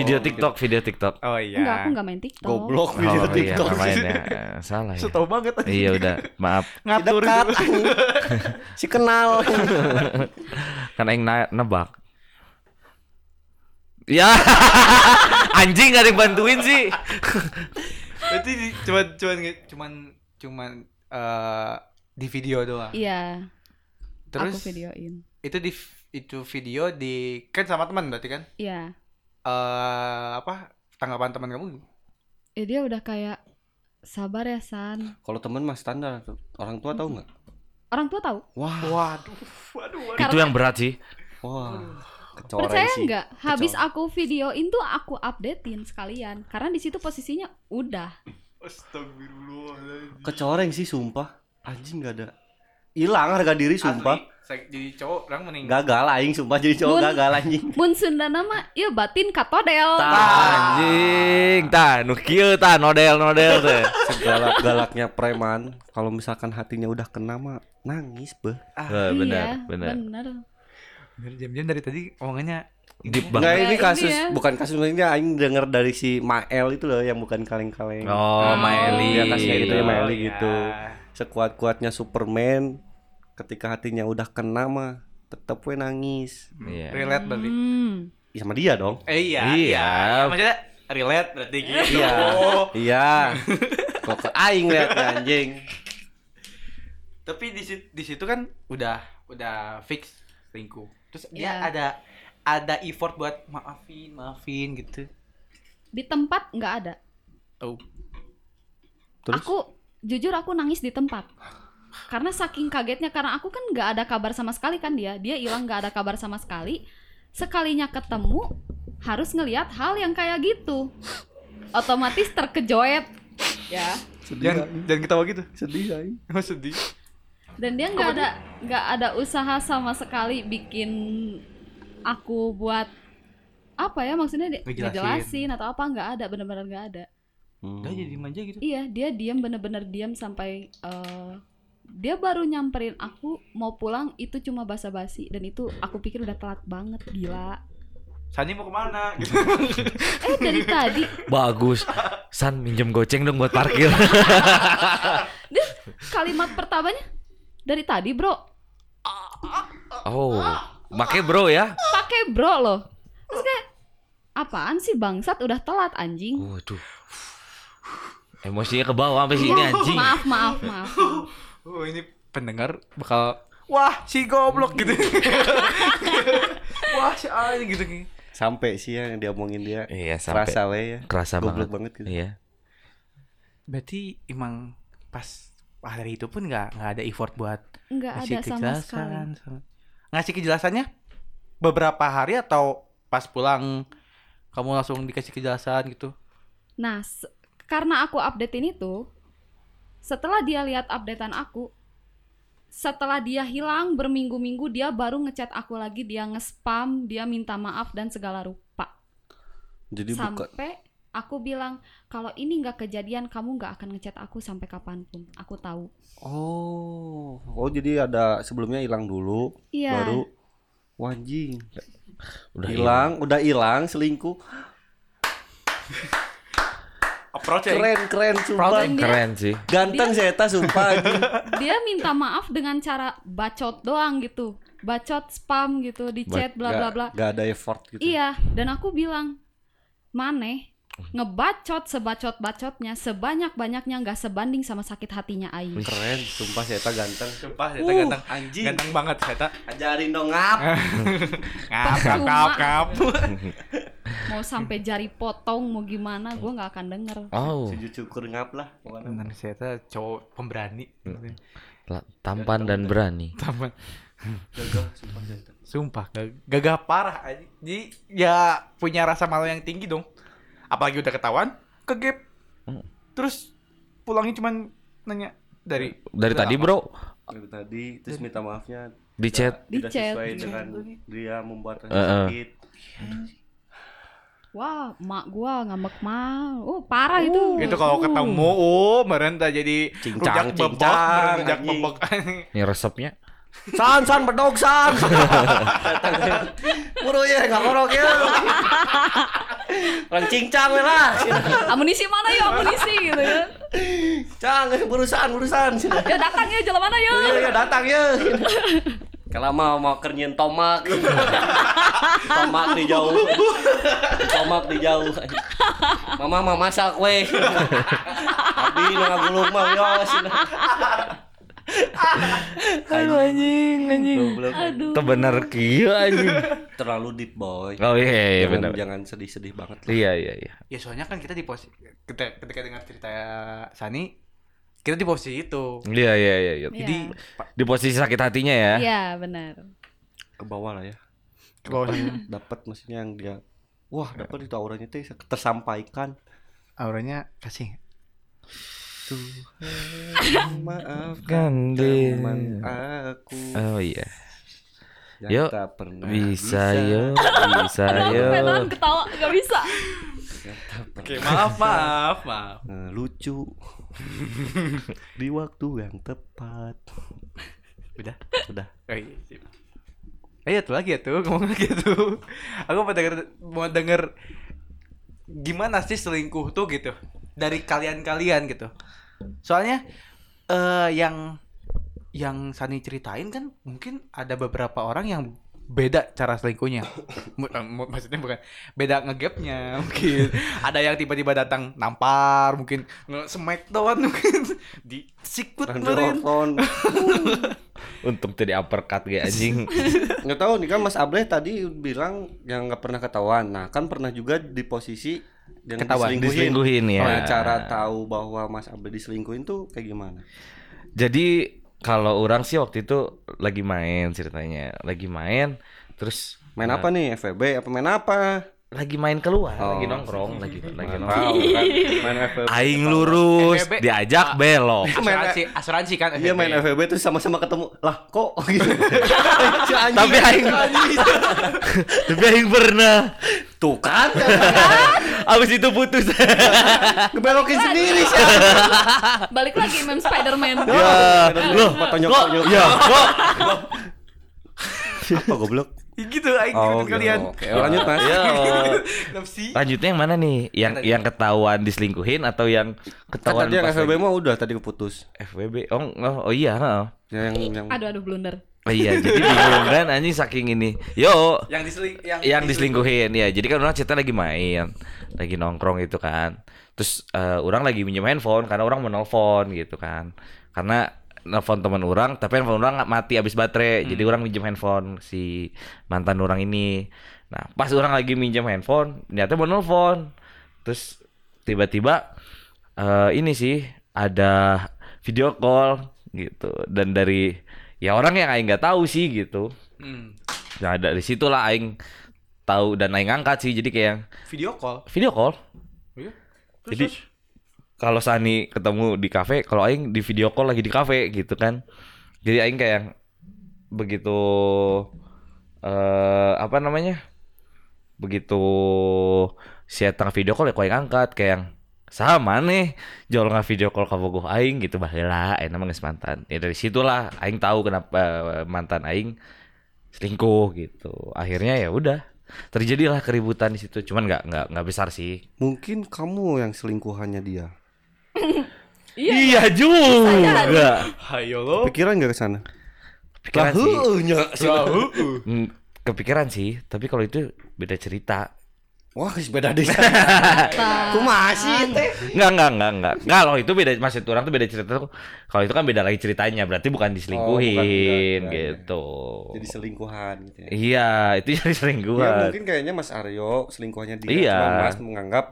Speaker 1: Video TikTok, video TikTok.
Speaker 3: Oh iya.
Speaker 4: Enggak, aku nggak main TikTok.
Speaker 1: Oh
Speaker 2: Goblok video
Speaker 1: iya,
Speaker 2: TikTok. <laughs>
Speaker 1: kemarin ya. Eh, Salah ya.
Speaker 3: Setau banget aja.
Speaker 1: Iya udah, maaf.
Speaker 3: <laughs> Ngatur
Speaker 2: Dekat,
Speaker 3: gitu.
Speaker 2: anjing. <laughs> si
Speaker 1: <laughs>
Speaker 2: kenal.
Speaker 1: Kan aing na- nebak. Ya, <laughs> anjing gak ada yang bantuin sih.
Speaker 3: Berarti di- cuman cuman cuman cuman eh, di video doang.
Speaker 4: Iya,
Speaker 3: Terus
Speaker 4: aku videoin.
Speaker 3: itu di itu video di kan sama teman berarti kan?
Speaker 4: Iya.
Speaker 3: Eh apa tanggapan teman kamu?
Speaker 4: Eh, dia udah kayak sabar ya San.
Speaker 2: Kalau temen mah standar. Orang tua tahu nggak?
Speaker 4: Orang tua tahu.
Speaker 2: Wah,
Speaker 3: Waduh, waduh, waduh.
Speaker 1: Itu
Speaker 4: kan
Speaker 1: yang berat sih.
Speaker 2: wah. Kecoreng
Speaker 4: Percaya
Speaker 2: sih.
Speaker 4: nggak? Habis aku videoin tuh aku updatein sekalian. Karena di situ posisinya udah.
Speaker 3: Astagfirullah.
Speaker 2: Kecoreng sih sumpah. Anjing nggak ada. Hilang harga diri sumpah.
Speaker 3: Asli, saya jadi cowok orang mending.
Speaker 2: Gagal aing sumpah jadi cowok
Speaker 4: Bun.
Speaker 2: gagal <laughs> anjing.
Speaker 4: Mun Sundana mah, ya batin katodel.
Speaker 2: Tah.
Speaker 1: Anjing, tah nu kieu tah nodel nodel teh.
Speaker 2: Segalak galaknya preman. Kalau misalkan hatinya udah kena mah nangis beh.
Speaker 1: Eh, Benar,
Speaker 4: iya,
Speaker 1: benar.
Speaker 3: Bener, Jam-jam dari tadi omongannya
Speaker 1: Deep
Speaker 2: Nggak
Speaker 1: banget.
Speaker 4: Nah,
Speaker 2: ini
Speaker 4: ini
Speaker 2: kasus
Speaker 4: ya.
Speaker 2: bukan kasus maksudnya aing denger dari si Mael itu loh yang bukan kaleng-kaleng.
Speaker 1: Oh, Maeli.
Speaker 2: Dia kasih gitu ya, Maeli
Speaker 3: Oh,
Speaker 2: gitu.
Speaker 3: iya.
Speaker 2: Sekuat-kuatnya Superman ketika hatinya udah kena mah tetep we nangis.
Speaker 1: Iya.
Speaker 3: Relate berarti.
Speaker 4: Hmm.
Speaker 2: Ya sama dia dong.
Speaker 3: Eh, iya,
Speaker 1: Iya.
Speaker 3: Maksudnya relate berarti gitu.
Speaker 2: Iya.
Speaker 3: <laughs>
Speaker 2: <laughs> Iya. Kok ke aing liatnya anjing.
Speaker 3: Tapi di situ, di situ kan udah udah fix selingkuh. Terus dia
Speaker 4: Iya.
Speaker 3: ada ada effort buat maafin, maafin gitu.
Speaker 4: Di tempat nggak ada.
Speaker 3: Oh.
Speaker 2: Terus
Speaker 4: Aku jujur aku nangis di tempat. Karena saking kagetnya karena aku kan nggak ada kabar sama sekali kan dia. Dia hilang nggak ada kabar sama sekali. Sekalinya ketemu harus ngelihat hal yang kayak gitu. Otomatis terkejoet ya.
Speaker 3: Jangan jangan ketawa gitu. <laughs>
Speaker 2: sedih aing.
Speaker 3: Emang sedih.
Speaker 4: Dan dia nggak ada nggak ada usaha sama sekali bikin aku buat apa ya maksudnya dia
Speaker 3: Ngejelasin.
Speaker 4: ngejelasin atau apa nggak ada benar-benar nggak ada.
Speaker 3: Udah jadi manja gitu.
Speaker 4: Iya, dia diam bener-bener diam sampai eh, dia baru nyamperin aku mau pulang itu cuma basa-basi dan itu aku pikir udah telat banget gila.
Speaker 3: Sani mau kemana? Gitu. <laughs>
Speaker 4: Eh dari tadi
Speaker 1: Bagus. San minjem goceng dong buat
Speaker 2: <laughs>
Speaker 1: parkir.
Speaker 4: kalimat pertamanya dari tadi bro
Speaker 1: Oh, make bro ya.
Speaker 4: pakai bro loh. Terus kayak apaan sih bangsat udah telat anjing.
Speaker 1: Waduh. Emosinya ke bawah sampai sini anjing.
Speaker 4: Iya, Ya, Maaf maaf maaf.
Speaker 3: Oh, ini pendengar bakal wah si goblok gitu. <laughs> wah si anjing gitu.
Speaker 2: Sampai sih ya yang diomongin dia.
Speaker 1: Iya, sampai
Speaker 2: Kerasa we ya.
Speaker 1: kerasa banget.
Speaker 2: Goblok banget gitu.
Speaker 1: Iya.
Speaker 3: Berarti emang pas wah dari itu pun nggak nggak ada effort buat
Speaker 4: Nggak ada
Speaker 3: ngasih
Speaker 4: sama sekali.
Speaker 3: kejelasan. sama- Ngasih kejelasannya beberapa hari atau pas pulang kamu langsung dikasih kejelasan gitu.
Speaker 4: Nah, se- karena aku updatein itu, setelah dia lihat updatean aku, setelah dia hilang berminggu-minggu, dia baru ngechat aku lagi, dia nge-spam, dia minta maaf dan segala rupa.
Speaker 2: Jadi bukan
Speaker 4: sampai aku bilang kalau ini nggak kejadian, kamu nggak akan ngechat aku sampai kapanpun. Aku tahu.
Speaker 2: Oh, oh jadi ada sebelumnya hilang dulu,
Speaker 4: Iya.
Speaker 2: baru wajing
Speaker 1: Udah hilang.
Speaker 2: hilang, udah hilang selingkuh.
Speaker 3: Approach ya,
Speaker 2: Keren keren sumpah.
Speaker 4: Dan dia,
Speaker 1: Keren sih.
Speaker 2: Ganteng saya eta
Speaker 4: <laughs>
Speaker 2: sumpah. anjing.
Speaker 4: dia minta maaf dengan cara bacot doang gitu, bacot spam gitu di chat bla bla
Speaker 2: Nggak-
Speaker 4: bla.
Speaker 2: nggak ada effort gitu.
Speaker 4: Iya, dan aku bilang, maneh ngebacot sebacot-bacotnya sebanyak-banyaknya nggak sebanding sama sakit hatinya Ayu.
Speaker 2: Keren sumpah saya eta ganteng.
Speaker 3: Sumpah, Seta
Speaker 2: Uh,
Speaker 3: ganteng.
Speaker 2: anjing.
Speaker 3: Ganteng banget, Seta.
Speaker 2: Ajarin dong ngap.
Speaker 3: Ngap, ngap,
Speaker 4: Percuma.
Speaker 3: ngap, ngap. <laughs>
Speaker 4: Mau sampai jari potong mau gimana, gue nggak akan denger.
Speaker 1: Oh,
Speaker 2: Sujud syukur ngap lah. Pokoknya.
Speaker 3: Bener, Seta cowok pemberani.
Speaker 1: la- tampan dan berani.
Speaker 3: Taman.
Speaker 2: Gagah sumpah saya eta.
Speaker 3: Sumpah, gag- gagah parah. anjing. Jadi ya punya rasa malu yang tinggi dong. Apalagi udah ketahuan, kegep. Hmm. Terus pulangnya cuman nanya dari
Speaker 1: Dari
Speaker 3: Udah
Speaker 1: tadi,
Speaker 3: apa?
Speaker 1: Bro,
Speaker 2: Dari tadi terus minta maafnya
Speaker 1: di chat
Speaker 4: Di
Speaker 2: tidak
Speaker 4: chat.
Speaker 2: sesuai
Speaker 4: Di
Speaker 2: dengan dia membuat rasa
Speaker 1: Heeh.
Speaker 2: sakit.
Speaker 4: Wah, mak gue ngambek mal. Oh parah itu.
Speaker 3: Uh.
Speaker 4: Uh.
Speaker 3: Itu Gitu, kalau ketemu, oh merenta jadi
Speaker 2: Cincang,
Speaker 3: rujak bebek,
Speaker 2: cincang,
Speaker 3: rujak
Speaker 2: anjing.
Speaker 3: bebek. <laughs>
Speaker 1: nih resepnya.
Speaker 2: San san bedog san. Buru ya enggak ngorok ya. Orang cincang we <laughs> lah.
Speaker 4: Amunisi mana ya amunisi gitu ya.
Speaker 2: Cang, eh, burusan, burusan. Sini.
Speaker 4: Ya datang ya jalan mana ya.
Speaker 2: Iya, iya, datang ya. Kalau mau mau
Speaker 1: <laughs>
Speaker 2: kerjain tomak. tomak di jauh. Tomak di jauh. Mama mau masak we. Abdi nu ngagulung mah wios.
Speaker 1: Aduh anjing, anjing.
Speaker 2: Goblok.
Speaker 4: Aduh.
Speaker 1: Kebener kieu
Speaker 4: <laughs>
Speaker 1: anjing.
Speaker 2: Terlalu deep boy.
Speaker 1: Oh iya iya, iya
Speaker 2: jangan,
Speaker 1: benar.
Speaker 2: jangan sedih-sedih banget. lah.
Speaker 1: Iya iya iya.
Speaker 3: Ya soalnya kan kita di posisi ketika, ketika dengar cerita Sani, kita di posisi itu.
Speaker 1: Iya iya iya. iya.
Speaker 4: Iya.
Speaker 1: Jadi di posisi sakit hatinya ya.
Speaker 4: Iya benar.
Speaker 2: Ke bawah lah ya.
Speaker 3: Ke
Speaker 1: Oh,
Speaker 3: bawah
Speaker 1: iya.
Speaker 3: sana.
Speaker 2: Dapat maksudnya yang dia Wah, dapat itu auranya teh tersampaikan.
Speaker 3: Auranya kasih.
Speaker 2: Tuhan, maafkan
Speaker 1: Gandhi.
Speaker 2: teman aku.
Speaker 1: Oh iya.
Speaker 2: yang
Speaker 1: Yuk,
Speaker 2: tak pernah
Speaker 1: Bisa yo, bisa
Speaker 4: Aduh,
Speaker 1: yo.
Speaker 4: aku pengen ketawa gak bisa.
Speaker 3: Oke, <laughs> maaf, maaf, maaf.
Speaker 2: Eh, <laughs> lucu di waktu yang tepat
Speaker 3: Udah.
Speaker 2: udah
Speaker 3: Oh iya, sip. Eh, ya tuh lagi ya tuh, <laughs> ngomong lagi ya tuh. Aku mau denger, mau denger gimana sih selingkuh tuh gitu dari kalian-kalian gitu. Soalnya eh yang yang Sani ceritain kan mungkin ada beberapa orang yang beda cara selingkuhnya. <coughs> M- eh, m- Maksudnya bukan beda ngegapnya <laughs> mungkin. Ada yang tiba-tiba datang nampar, mungkin nge- smackdown <laughs> mungkin di sikut
Speaker 2: Randy
Speaker 3: meureun.
Speaker 2: Orton
Speaker 1: Untung tadi uppercut kayak anjing.
Speaker 2: nggak tahu nih kan Mas Ableh tadi bilang yang nggak pernah ketahuan nah kan pernah juga di posisi yang
Speaker 3: Ketahuan,
Speaker 2: diselingkuhin,
Speaker 1: Diselingkuhin ya.
Speaker 6: Iya.
Speaker 2: Nah, cara tahu bahwa Mas Ableh diselingkuhin tuh kayak gimana
Speaker 1: Jadi kalau orang sih waktu itu lagi main ceritanya, lagi main terus
Speaker 2: main apa nih FVB apa main apa
Speaker 1: Lagi main keluar,
Speaker 2: Oh.
Speaker 1: lagi nongkrong, lagi lagi
Speaker 2: Main
Speaker 1: nongkrong.
Speaker 2: tahu
Speaker 4: <laughs>
Speaker 2: <laughs> kan main FVB
Speaker 1: Aing lurus,
Speaker 3: FVB.
Speaker 1: diajak belok.
Speaker 3: Asuransi, asuransi kan.
Speaker 2: Iya
Speaker 3: FVB.
Speaker 2: main FVB terus sama-sama ketemu lah kok <laughs> gitu Si anjing.
Speaker 1: Tapi aing <laughs> Tapi aing pernah.
Speaker 2: tuh kan
Speaker 1: <laughs>
Speaker 2: Iya.
Speaker 1: Abis itu putus.
Speaker 2: ngebelokin sendiri sih
Speaker 4: Balik lagi meme Spiderman.
Speaker 1: ya, loh,
Speaker 2: Apa tonyok
Speaker 1: kok
Speaker 2: tonyok
Speaker 1: ya,
Speaker 2: <laughs>
Speaker 1: kok
Speaker 2: apa Oh, goblok
Speaker 3: <laughs>
Speaker 2: Iya,
Speaker 3: gitu aing ngikutin kalian.
Speaker 2: Oh, Oke, lanjut Mas.
Speaker 1: Ya.
Speaker 3: Kenapa sih?
Speaker 1: Lanjutnya yang mana nih? Yang
Speaker 3: Yang tadi.
Speaker 1: yang ketahuan diselingkuhin atau yang
Speaker 2: Kan
Speaker 1: ketahuan
Speaker 2: tadi yang
Speaker 1: pas
Speaker 2: FVB
Speaker 1: lagi-
Speaker 2: mah udah tadi keputus.
Speaker 1: FWB. Oh, oh, oh iya, heeh.
Speaker 2: Yang yang
Speaker 4: Aduh aduh blunder.
Speaker 1: Oh iya, jadi bingung kan anjing saking ini. Yo,
Speaker 3: Yang diseling yang,
Speaker 1: yang diselingkuhin ya jadi kan orang cerita lagi main lagi nongkrong gitu kan terus eh, orang lagi minjem handphone karena orang menelpon gitu kan karena nelfon teman orang tapi handphone orang nggak mati habis baterai jadi orang minjem handphone si mantan orang ini nah pas orang lagi minjem handphone ternyata mau nelfon terus tiba-tiba eh, ini sih ada video call gitu dan dari ya orang yang aing nggak tahu sih gitu
Speaker 3: Hmm.
Speaker 1: Nah dari situlah Aing tahu dan Aing angkat sih jadi kayak yang
Speaker 3: video call.
Speaker 1: video call.
Speaker 3: Iya. Terus,
Speaker 1: Jadi
Speaker 3: terus?
Speaker 1: kalau Sani ketemu di kafe, kalau Aing di video call lagi di kafe gitu kan. Jadi Aing kayak yang begitu eh apa namanya? Begitu si Etang video call ya kau yang angkat kayak yang sama nih jual nggak video call ke bogoh aing gitu baheula enak geus mantan ya dari situlah aing tahu kenapa eh, mantan aing selingkuh gitu akhirnya ya udah terjadilah keributan di situ cuman nggak nggak nggak besar sih
Speaker 2: mungkin kamu yang selingkuhannya dia.
Speaker 4: Iya,
Speaker 1: juga.
Speaker 3: Hayo lo.
Speaker 2: Pikiran nggak ke sana?
Speaker 1: Kepikiran sih.
Speaker 3: Tahu.
Speaker 1: Hmm, Kepikiran sih, tapi kalau itu beda cerita.
Speaker 2: Wah, geus beda <laughs> deh.
Speaker 4: Ta-
Speaker 2: Kumaha sih teh?
Speaker 3: Iya.
Speaker 1: Enggak, enggak, enggak, enggak. Kalau itu beda maksud orang tuh beda cerita tuh. Kalau itu kan beda lagi ceritanya, berarti bukan diselingkuhin
Speaker 2: Oh, bukan, bukan,
Speaker 1: gitu.
Speaker 2: Jadi selingkuhan gitu ya.
Speaker 1: Iya, itu jadi
Speaker 2: Ya
Speaker 3: Iya,
Speaker 1: selingkuhan.
Speaker 2: mungkin kayaknya Mas Aryo selingkuhannya dia.
Speaker 1: Iya.
Speaker 2: Cuma Mas menganggap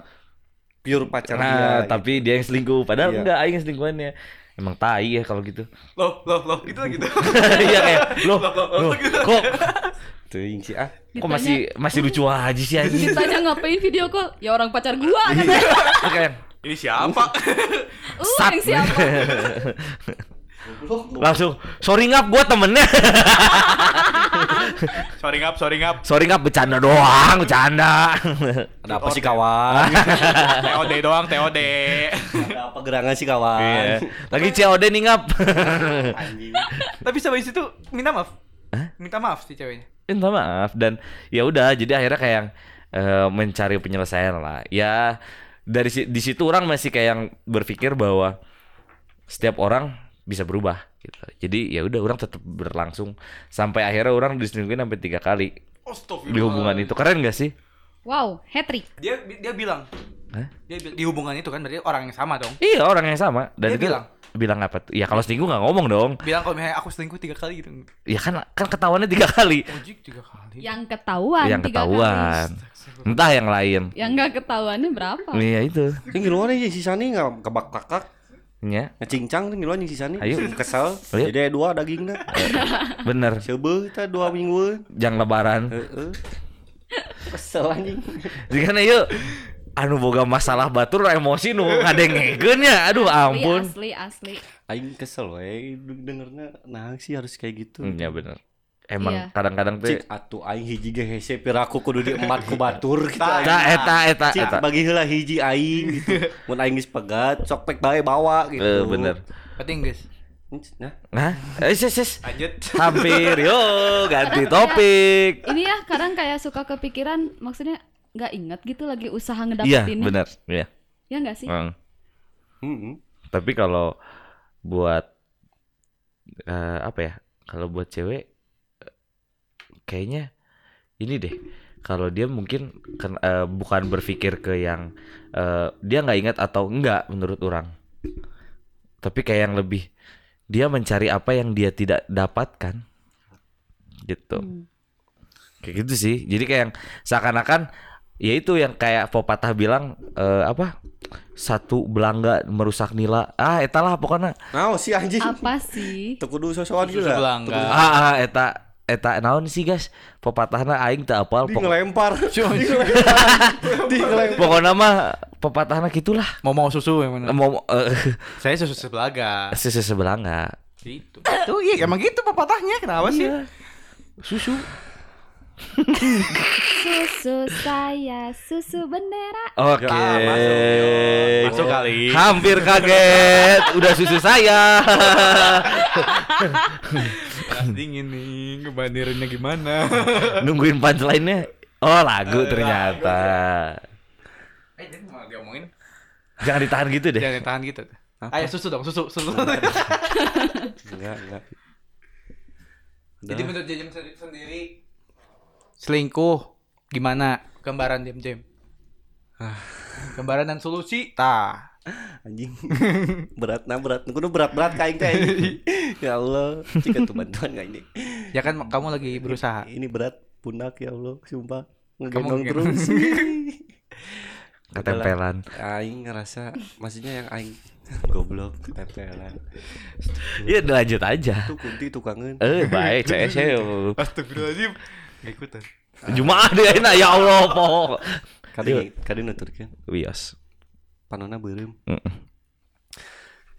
Speaker 2: pure pacar dia.
Speaker 1: nah,
Speaker 2: gitu.
Speaker 1: tapi dia yang selingkuh, padahal
Speaker 2: Iya.
Speaker 1: enggak aing yang selingkuhannya. Emang tai ya kalau gitu.
Speaker 3: Loh, loh, loh. Gitu lagi tuh.
Speaker 1: <laughs> Iya kayak loh,
Speaker 3: Loh, loh,
Speaker 1: loh,
Speaker 3: loh, gitu.
Speaker 1: kok
Speaker 6: gitu.
Speaker 2: Teuing sih ah.
Speaker 4: Gitu
Speaker 1: kok masih masih lucu aja sih anjing.
Speaker 4: Ditanya ngapain video call? Ya orang pacar gua katanya.
Speaker 1: Kayak
Speaker 3: Ini siapa?
Speaker 4: Uh,
Speaker 1: Sat.
Speaker 4: yang <laughs> siapa?
Speaker 1: langsung sorry ngap gua temennya <laughs>
Speaker 3: sorry ngap, sorry ngap.
Speaker 1: sorry ngap bercanda doang bercanda <laughs>
Speaker 2: Ada apa sih
Speaker 6: <laughs>
Speaker 2: kawan?
Speaker 3: TOD doang, TOD.
Speaker 2: Ada apa gerangan sih kawan?
Speaker 1: Iya. lagi COD nih ngap <laughs>
Speaker 2: Anjing.
Speaker 3: Tapi sampai situ minta maaf. Minta maaf si ceweknya.
Speaker 1: minta maaf dan ya udah jadi akhirnya kayak yang, eh, mencari penyelesaian lah ya dari si- di situ orang masih kayak yang berpikir bahwa setiap orang bisa berubah gitu. Jadi ya udah orang tetap berlangsung sampai akhirnya orang diselingkuhin sampai tiga kali di hubungan itu. Keren gak sih?
Speaker 4: Wow, hat-trick.
Speaker 3: Dia dia bilang.
Speaker 1: Hah?
Speaker 3: Dia bi- di hubungan itu kan berarti orang yang sama dong.
Speaker 1: Iya orang yang sama. Dan
Speaker 3: Dia
Speaker 1: itu
Speaker 3: bilang?
Speaker 1: bilang apa? tuh? Ya kalau selingkuh nggak ngomong dong.
Speaker 3: Bilang kalau misalnya aku selingkuh tiga kali gitu.
Speaker 1: Ya kan kan ketahuannya tiga kali.
Speaker 3: Ojik tiga kali.
Speaker 4: Yang ketahuan
Speaker 1: yang
Speaker 4: Ah, tiga kali.
Speaker 1: ketahuan. Entah yang lain.
Speaker 4: Yang nggak ketahuannya berapa?
Speaker 1: Iya itu.
Speaker 6: Ini ngiluan aja si Sani nggak kebak-kakak
Speaker 1: Ya,
Speaker 6: ngecincang nih ngiluan yang si Sani.
Speaker 1: Ayo.
Speaker 6: kesel.
Speaker 1: Ayo.
Speaker 6: Jadi ada dua dagingnya.
Speaker 1: bener.
Speaker 6: Coba kita dua mingguan.
Speaker 1: Jangan lebaran.
Speaker 6: Heeh. Kesel anjing.
Speaker 1: Jika yuk iya. anu boga masalah batur emosi nu ngadengekeun ya. Aduh
Speaker 4: Asli,
Speaker 1: ampun.
Speaker 4: Oh iya, asli, asli.
Speaker 6: Aing kesel we dengernya nah sih harus kayak gitu.
Speaker 1: Hmm, Ya bener. Emang
Speaker 4: Iya.
Speaker 1: kadang-kadang tuh
Speaker 6: Cik atuh aing hiji ge hese piraku kudu diemat ku
Speaker 2: <laughs>
Speaker 6: batur gitu.
Speaker 1: eta
Speaker 6: aing.
Speaker 1: eta
Speaker 2: Nah,
Speaker 1: eta
Speaker 6: Cik
Speaker 1: eta.
Speaker 6: bagi heula hiji aing gitu.
Speaker 2: <laughs>
Speaker 6: Mun aing geus pegat, sok pek bae bawa gitu.
Speaker 1: Eh, bener.
Speaker 3: Berarti Inggris.
Speaker 6: Nah,
Speaker 1: Hah? Eh, sis, sis.
Speaker 7: Lanjut.
Speaker 1: Hampir yo ganti topik.
Speaker 4: Ini ya kadang kayak suka kepikiran maksudnya nggak ingat gitu lagi usaha
Speaker 1: Iya,
Speaker 4: ngedapetinnya.
Speaker 1: bener. Iya.
Speaker 4: Ya nggak sih?
Speaker 1: Heeh.
Speaker 6: heeh.
Speaker 1: Tapi kalau buat eh, apa ya? Kalau buat cewek eh, kayaknya ini deh. Kalau dia mungkin ken- eh, bukan berpikir ke yang eh, dia nggak ingat atau enggak menurut orang. Tapi kayak yang lebih dia mencari apa yang dia tidak dapatkan. Gitu.
Speaker 4: Hmm.
Speaker 1: Kayak gitu sih. Jadi kayak yang seakan-akan ya itu yang kayak pepatah bilang eh, apa? Satu belangga merusak nila. Ah, etalah pokoknya.
Speaker 6: Nah, si anjing.
Speaker 4: Apa sih?
Speaker 6: Teu kudu sosokan
Speaker 3: Susu
Speaker 6: gitu lah.
Speaker 3: belangga.
Speaker 1: Ah, ah, eta eta naon sih guys? Pepatahna aing teu apal
Speaker 6: Di
Speaker 1: pokok.
Speaker 6: ngelempar. Di ngelempar. Di ngelempar.
Speaker 1: Pokoknya mah pepatahna gitulah.
Speaker 3: Mau mau susu yang mana?
Speaker 1: Mau eh, <laughs>
Speaker 3: Saya susu sebelaga.
Speaker 1: sisi sebelangga.
Speaker 3: Gitu. Tuh iya emang gitu pepatahnya kenapa sih?
Speaker 1: Susu.
Speaker 4: Susu saya, susu bendera.
Speaker 1: Oke.
Speaker 6: Ah, masuk, yuk.
Speaker 7: Masuk kali.
Speaker 1: Hampir kaget. Udah susu saya. <laughs>
Speaker 3: Panas dingin nih, kebandirannya gimana?
Speaker 1: Nungguin punchline-nya. Oh, lagu ternyata.
Speaker 3: Eh, jadi mau diomongin.
Speaker 1: Jangan ditahan gitu deh.
Speaker 3: Jangan tahan gitu. Ayo susu dong, susu, susu.
Speaker 6: <laughs> Enggak, enggak.
Speaker 3: Jadi menurut Jajem sendi- sendiri Nah. selingkuh gimana? Gambaran Jem Jem.
Speaker 6: Ah.
Speaker 3: Gambaran dan solusi. Tah.
Speaker 6: anjing berat nah berat kudu berat berat
Speaker 2: <laughs>
Speaker 6: kain kayak ya Allah jika tuh bantuan kayak ini
Speaker 3: Ya kan kamu lagi berusaha.
Speaker 6: ini berat pundak ya Allah sumpah ngegendong
Speaker 3: ngegendong.
Speaker 2: <laughs>
Speaker 6: terus
Speaker 1: Ketempelan.
Speaker 6: Aing ngerasa maksudnya yang Aing <laughs> goblok ketempelan
Speaker 1: Iya, lanjut aja.
Speaker 6: tuh kunti tukangan
Speaker 1: Eh, baik, CS yuk.
Speaker 3: Astagfirullahaladzim. Gak ikutan.
Speaker 1: Jumaah deh enak ya Allah poho.
Speaker 6: kali kali nuturkan
Speaker 1: Wios.
Speaker 6: panona beureum
Speaker 1: Mm-mm.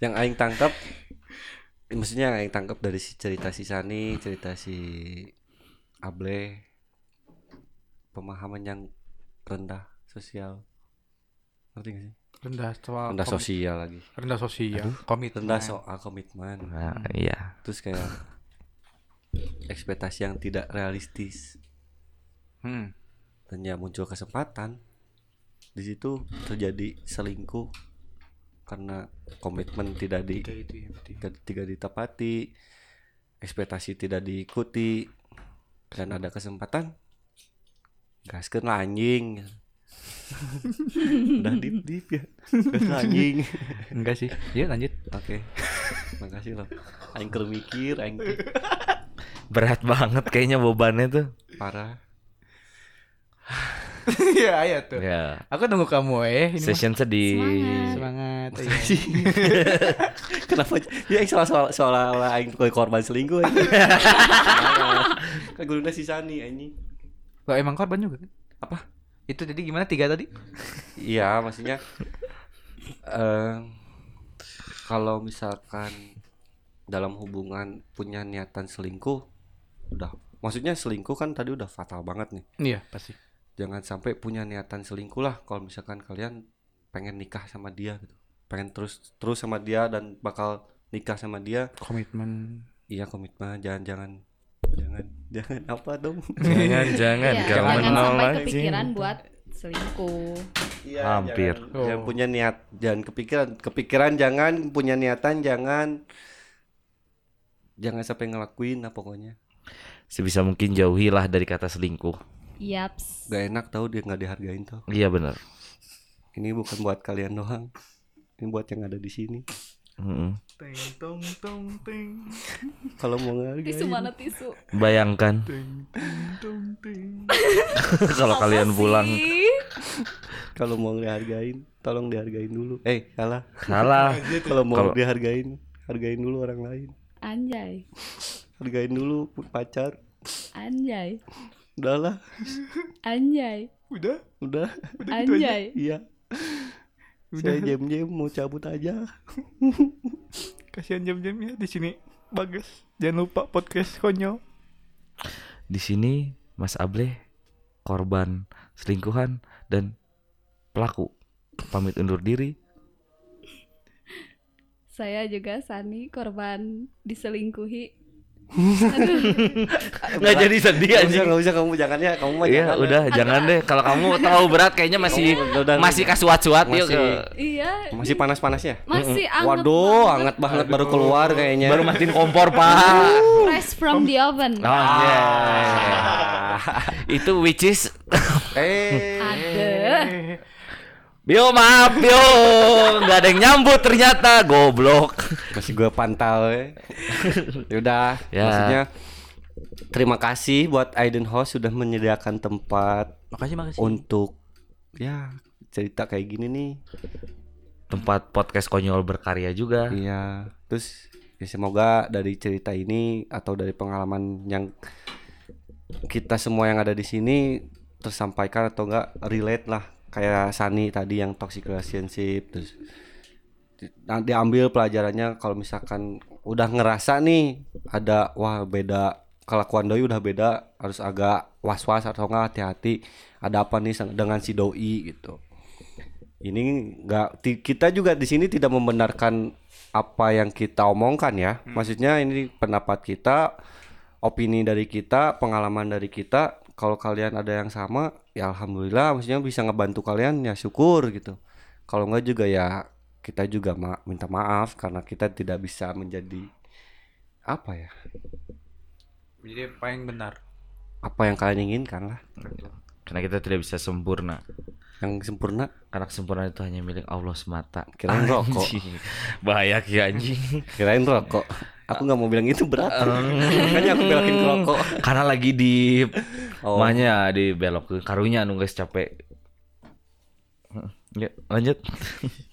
Speaker 6: yang Aing tangkap maksudnya yang Aing tangkap dari si cerita si Sani cerita si Able pemahaman yang rendah sosial ngerti gak sih
Speaker 3: Rendah soal
Speaker 6: rendah
Speaker 3: komi-
Speaker 6: sosial lagi
Speaker 3: Rendah sosial. Komitmen.
Speaker 6: rendah soal komitmen
Speaker 1: Nah, iya.
Speaker 6: terus kayak <laughs> ekspektasi yang tidak realistis
Speaker 3: Hmm.
Speaker 6: dan ya muncul kesempatan di situ terjadi selingkuh karena komitmen tidak di
Speaker 3: Itu itu ya berarti.
Speaker 6: tidak, tidak ditepati, ekspektasi tidak diikuti, dan ada kesempatan gaskeun lah anjing. Udah deep deep ya. Gaskeun lah anjing.
Speaker 3: Enggak sih. Yuk Iya, lanjut.
Speaker 6: Oke. Makasih loh. Aing keur mikir, aing teh
Speaker 1: Berat banget kayaknya bebannya tuh.
Speaker 6: parah.
Speaker 3: <laughs> Iya, ayo tuh.
Speaker 1: Ya.
Speaker 3: <laughs> Aku nunggu kamu eh. Ini
Speaker 1: Session sedih.
Speaker 3: mah-
Speaker 4: Semangat.
Speaker 3: semangat. iya.
Speaker 6: Kenapa? Ya aing soal soal soal aing koy korban selingkuh. <laughs> anjing. Kan guluna si Sani anjing.
Speaker 3: Lo emang korban juga kan?
Speaker 6: Apa?
Speaker 3: Itu jadi gimana tiga tadi?
Speaker 6: Iya, maksudnya eh kalau misalkan dalam hubungan punya niatan selingkuh, udah maksudnya selingkuh kan tadi udah fatal banget nih.
Speaker 3: Iya pasti.
Speaker 6: Jangan sampai punya niatan selingkuh lah kalau misalkan kalian pengen nikah sama dia gitu. Pengen terus terus sama dia dan bakal nikah sama dia.
Speaker 3: Komitmen.
Speaker 6: Iya komitmen, jangan jangan jangan jangan apa dong.
Speaker 1: Jangan jangan
Speaker 4: Iya,
Speaker 1: kau
Speaker 4: jangan sampai
Speaker 1: menolak
Speaker 4: kepikiran
Speaker 1: cinta.
Speaker 4: buat selingkuh.
Speaker 6: Iya,
Speaker 1: Hampir.
Speaker 6: Jangan,
Speaker 3: Oh.
Speaker 6: jangan punya niat, jangan kepikiran, kepikiran jangan, punya niatan jangan. jangan sampai ngelakuin lah pokoknya
Speaker 1: Sebisa mungkin jauhilah dari kata selingkuh.
Speaker 4: Yaps.
Speaker 6: gak enak tahu dia nggak dihargain tau
Speaker 1: Iya benar.
Speaker 6: ini bukan buat kalian doang ini buat yang ada di sini
Speaker 1: Mm-mm.
Speaker 8: Teng tong tong teng
Speaker 6: kalau mau
Speaker 4: Tisu
Speaker 6: ngehargain
Speaker 4: mana tisu?
Speaker 1: Bayangkan
Speaker 8: teng teng tong teng.
Speaker 1: <laughs> kalau
Speaker 4: Apa
Speaker 1: kalian
Speaker 4: sih?
Speaker 1: pulang
Speaker 6: kalau mau dihargain tolong dihargain dulu eh salah
Speaker 1: salah.
Speaker 6: kalau mau
Speaker 1: Kalau-
Speaker 6: dihargain hargain dulu orang lain
Speaker 4: Anjay.
Speaker 6: hargain dulu pacar
Speaker 4: Anjay.
Speaker 6: udahlah
Speaker 4: Anjay.
Speaker 8: Udah,
Speaker 6: udah
Speaker 8: udah gitu aja.
Speaker 4: Anjay.
Speaker 6: iya saya
Speaker 8: Udah,
Speaker 6: jam jam mau cabut
Speaker 1: Iya,
Speaker 6: aja
Speaker 8: kasihan jam-jamnya di sini. Bagus. Jangan lupa podcast konyol.
Speaker 1: Di sini Mas Able korban selingkuhan dan pelaku pamit undur diri.
Speaker 4: Saya juga Sani korban
Speaker 6: <laughs>
Speaker 4: diselingkuhi.
Speaker 1: Nggak jadi sedih
Speaker 6: nggak
Speaker 1: anjing.
Speaker 6: usah nggak usah kamu jangan ya kamu mah
Speaker 1: Iya
Speaker 6: jangan ya.
Speaker 1: udah jangan deh kalau kamu terlalu berat kayaknya masih
Speaker 6: Udah, udah,
Speaker 1: masih kasuat-suat yuk
Speaker 6: Masih.
Speaker 1: ke-
Speaker 4: Iya.
Speaker 6: masih panas panasnya
Speaker 4: Masih anget.
Speaker 6: waduh
Speaker 4: banget.
Speaker 6: anget banget baru keluar kayaknya
Speaker 1: baru matiin kompor pak.
Speaker 4: Fresh from the oven.
Speaker 1: Oh, yeah. <laughs> Itu which is
Speaker 6: eh
Speaker 4: Ada.
Speaker 1: Yo maaf yo nggak ada yang nyambut ternyata goblok
Speaker 6: masih gue pantau ya yaudah
Speaker 1: Ya.
Speaker 6: maksudnya terima kasih buat Aiden House sudah menyediakan tempat
Speaker 8: Makasih, makasih.
Speaker 6: untuk ya cerita kayak gini nih
Speaker 1: tempat podcast konyol berkarya juga
Speaker 6: iya terus ya semoga dari cerita ini atau dari pengalaman yang kita semua yang ada di sini tersampaikan atau enggak relate lah kayak Sani tadi yang toxic relationship terus di- nah, diambil pelajarannya kalau misalkan udah ngerasa nih ada wah beda kelakuan doi udah beda harus agak was-was atau enggak hati-hati ada apa nih sang- dengan si doi gitu ini enggak ti- kita juga di sini tidak membenarkan apa yang kita omongkan ya maksudnya ini pendapat kita opini dari kita pengalaman dari kita kalau kalian ada yang sama ya alhamdulillah maksudnya bisa ngebantu kalian ya syukur gitu kalau enggak juga ya kita juga ma- minta maaf karena kita tidak bisa menjadi apa ya
Speaker 8: Jadi paling benar.
Speaker 6: apa yang kalian inginkan lah
Speaker 1: karena kita tidak bisa sempurna
Speaker 6: yang sempurna
Speaker 1: karena kesempurnaan itu hanya milik Allah semata
Speaker 6: Kirain rokok.
Speaker 1: Anjing. bahaya ki anjing
Speaker 6: kirain rokok aku nggak mau bilang itu berat makanya aku belakin ke rokok
Speaker 1: <laughs> karena lagi di
Speaker 6: Oh.
Speaker 1: mahnya di belok ke karunya nu guys capek ya lanjut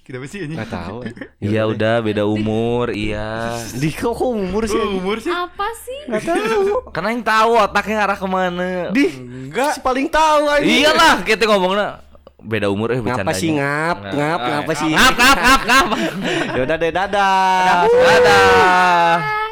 Speaker 8: Kita besi ini.
Speaker 6: nggak tahu
Speaker 1: <laughs> iya udah beda umur iya
Speaker 6: di kok kok umur sih
Speaker 8: Umur sih.
Speaker 4: Apa sih?
Speaker 6: nggak tahu
Speaker 1: karena yang tahu otaknya arah kemana
Speaker 6: di enggak si paling tahu aja
Speaker 1: iyalah kita ngomongnya beda umur eh bercanda
Speaker 6: ngapa sih
Speaker 1: aja.
Speaker 6: ngap Ya ngap ngapa sih <laughs>
Speaker 1: ngap ngap ngap ngap
Speaker 6: yaudah deh dadah
Speaker 1: dadah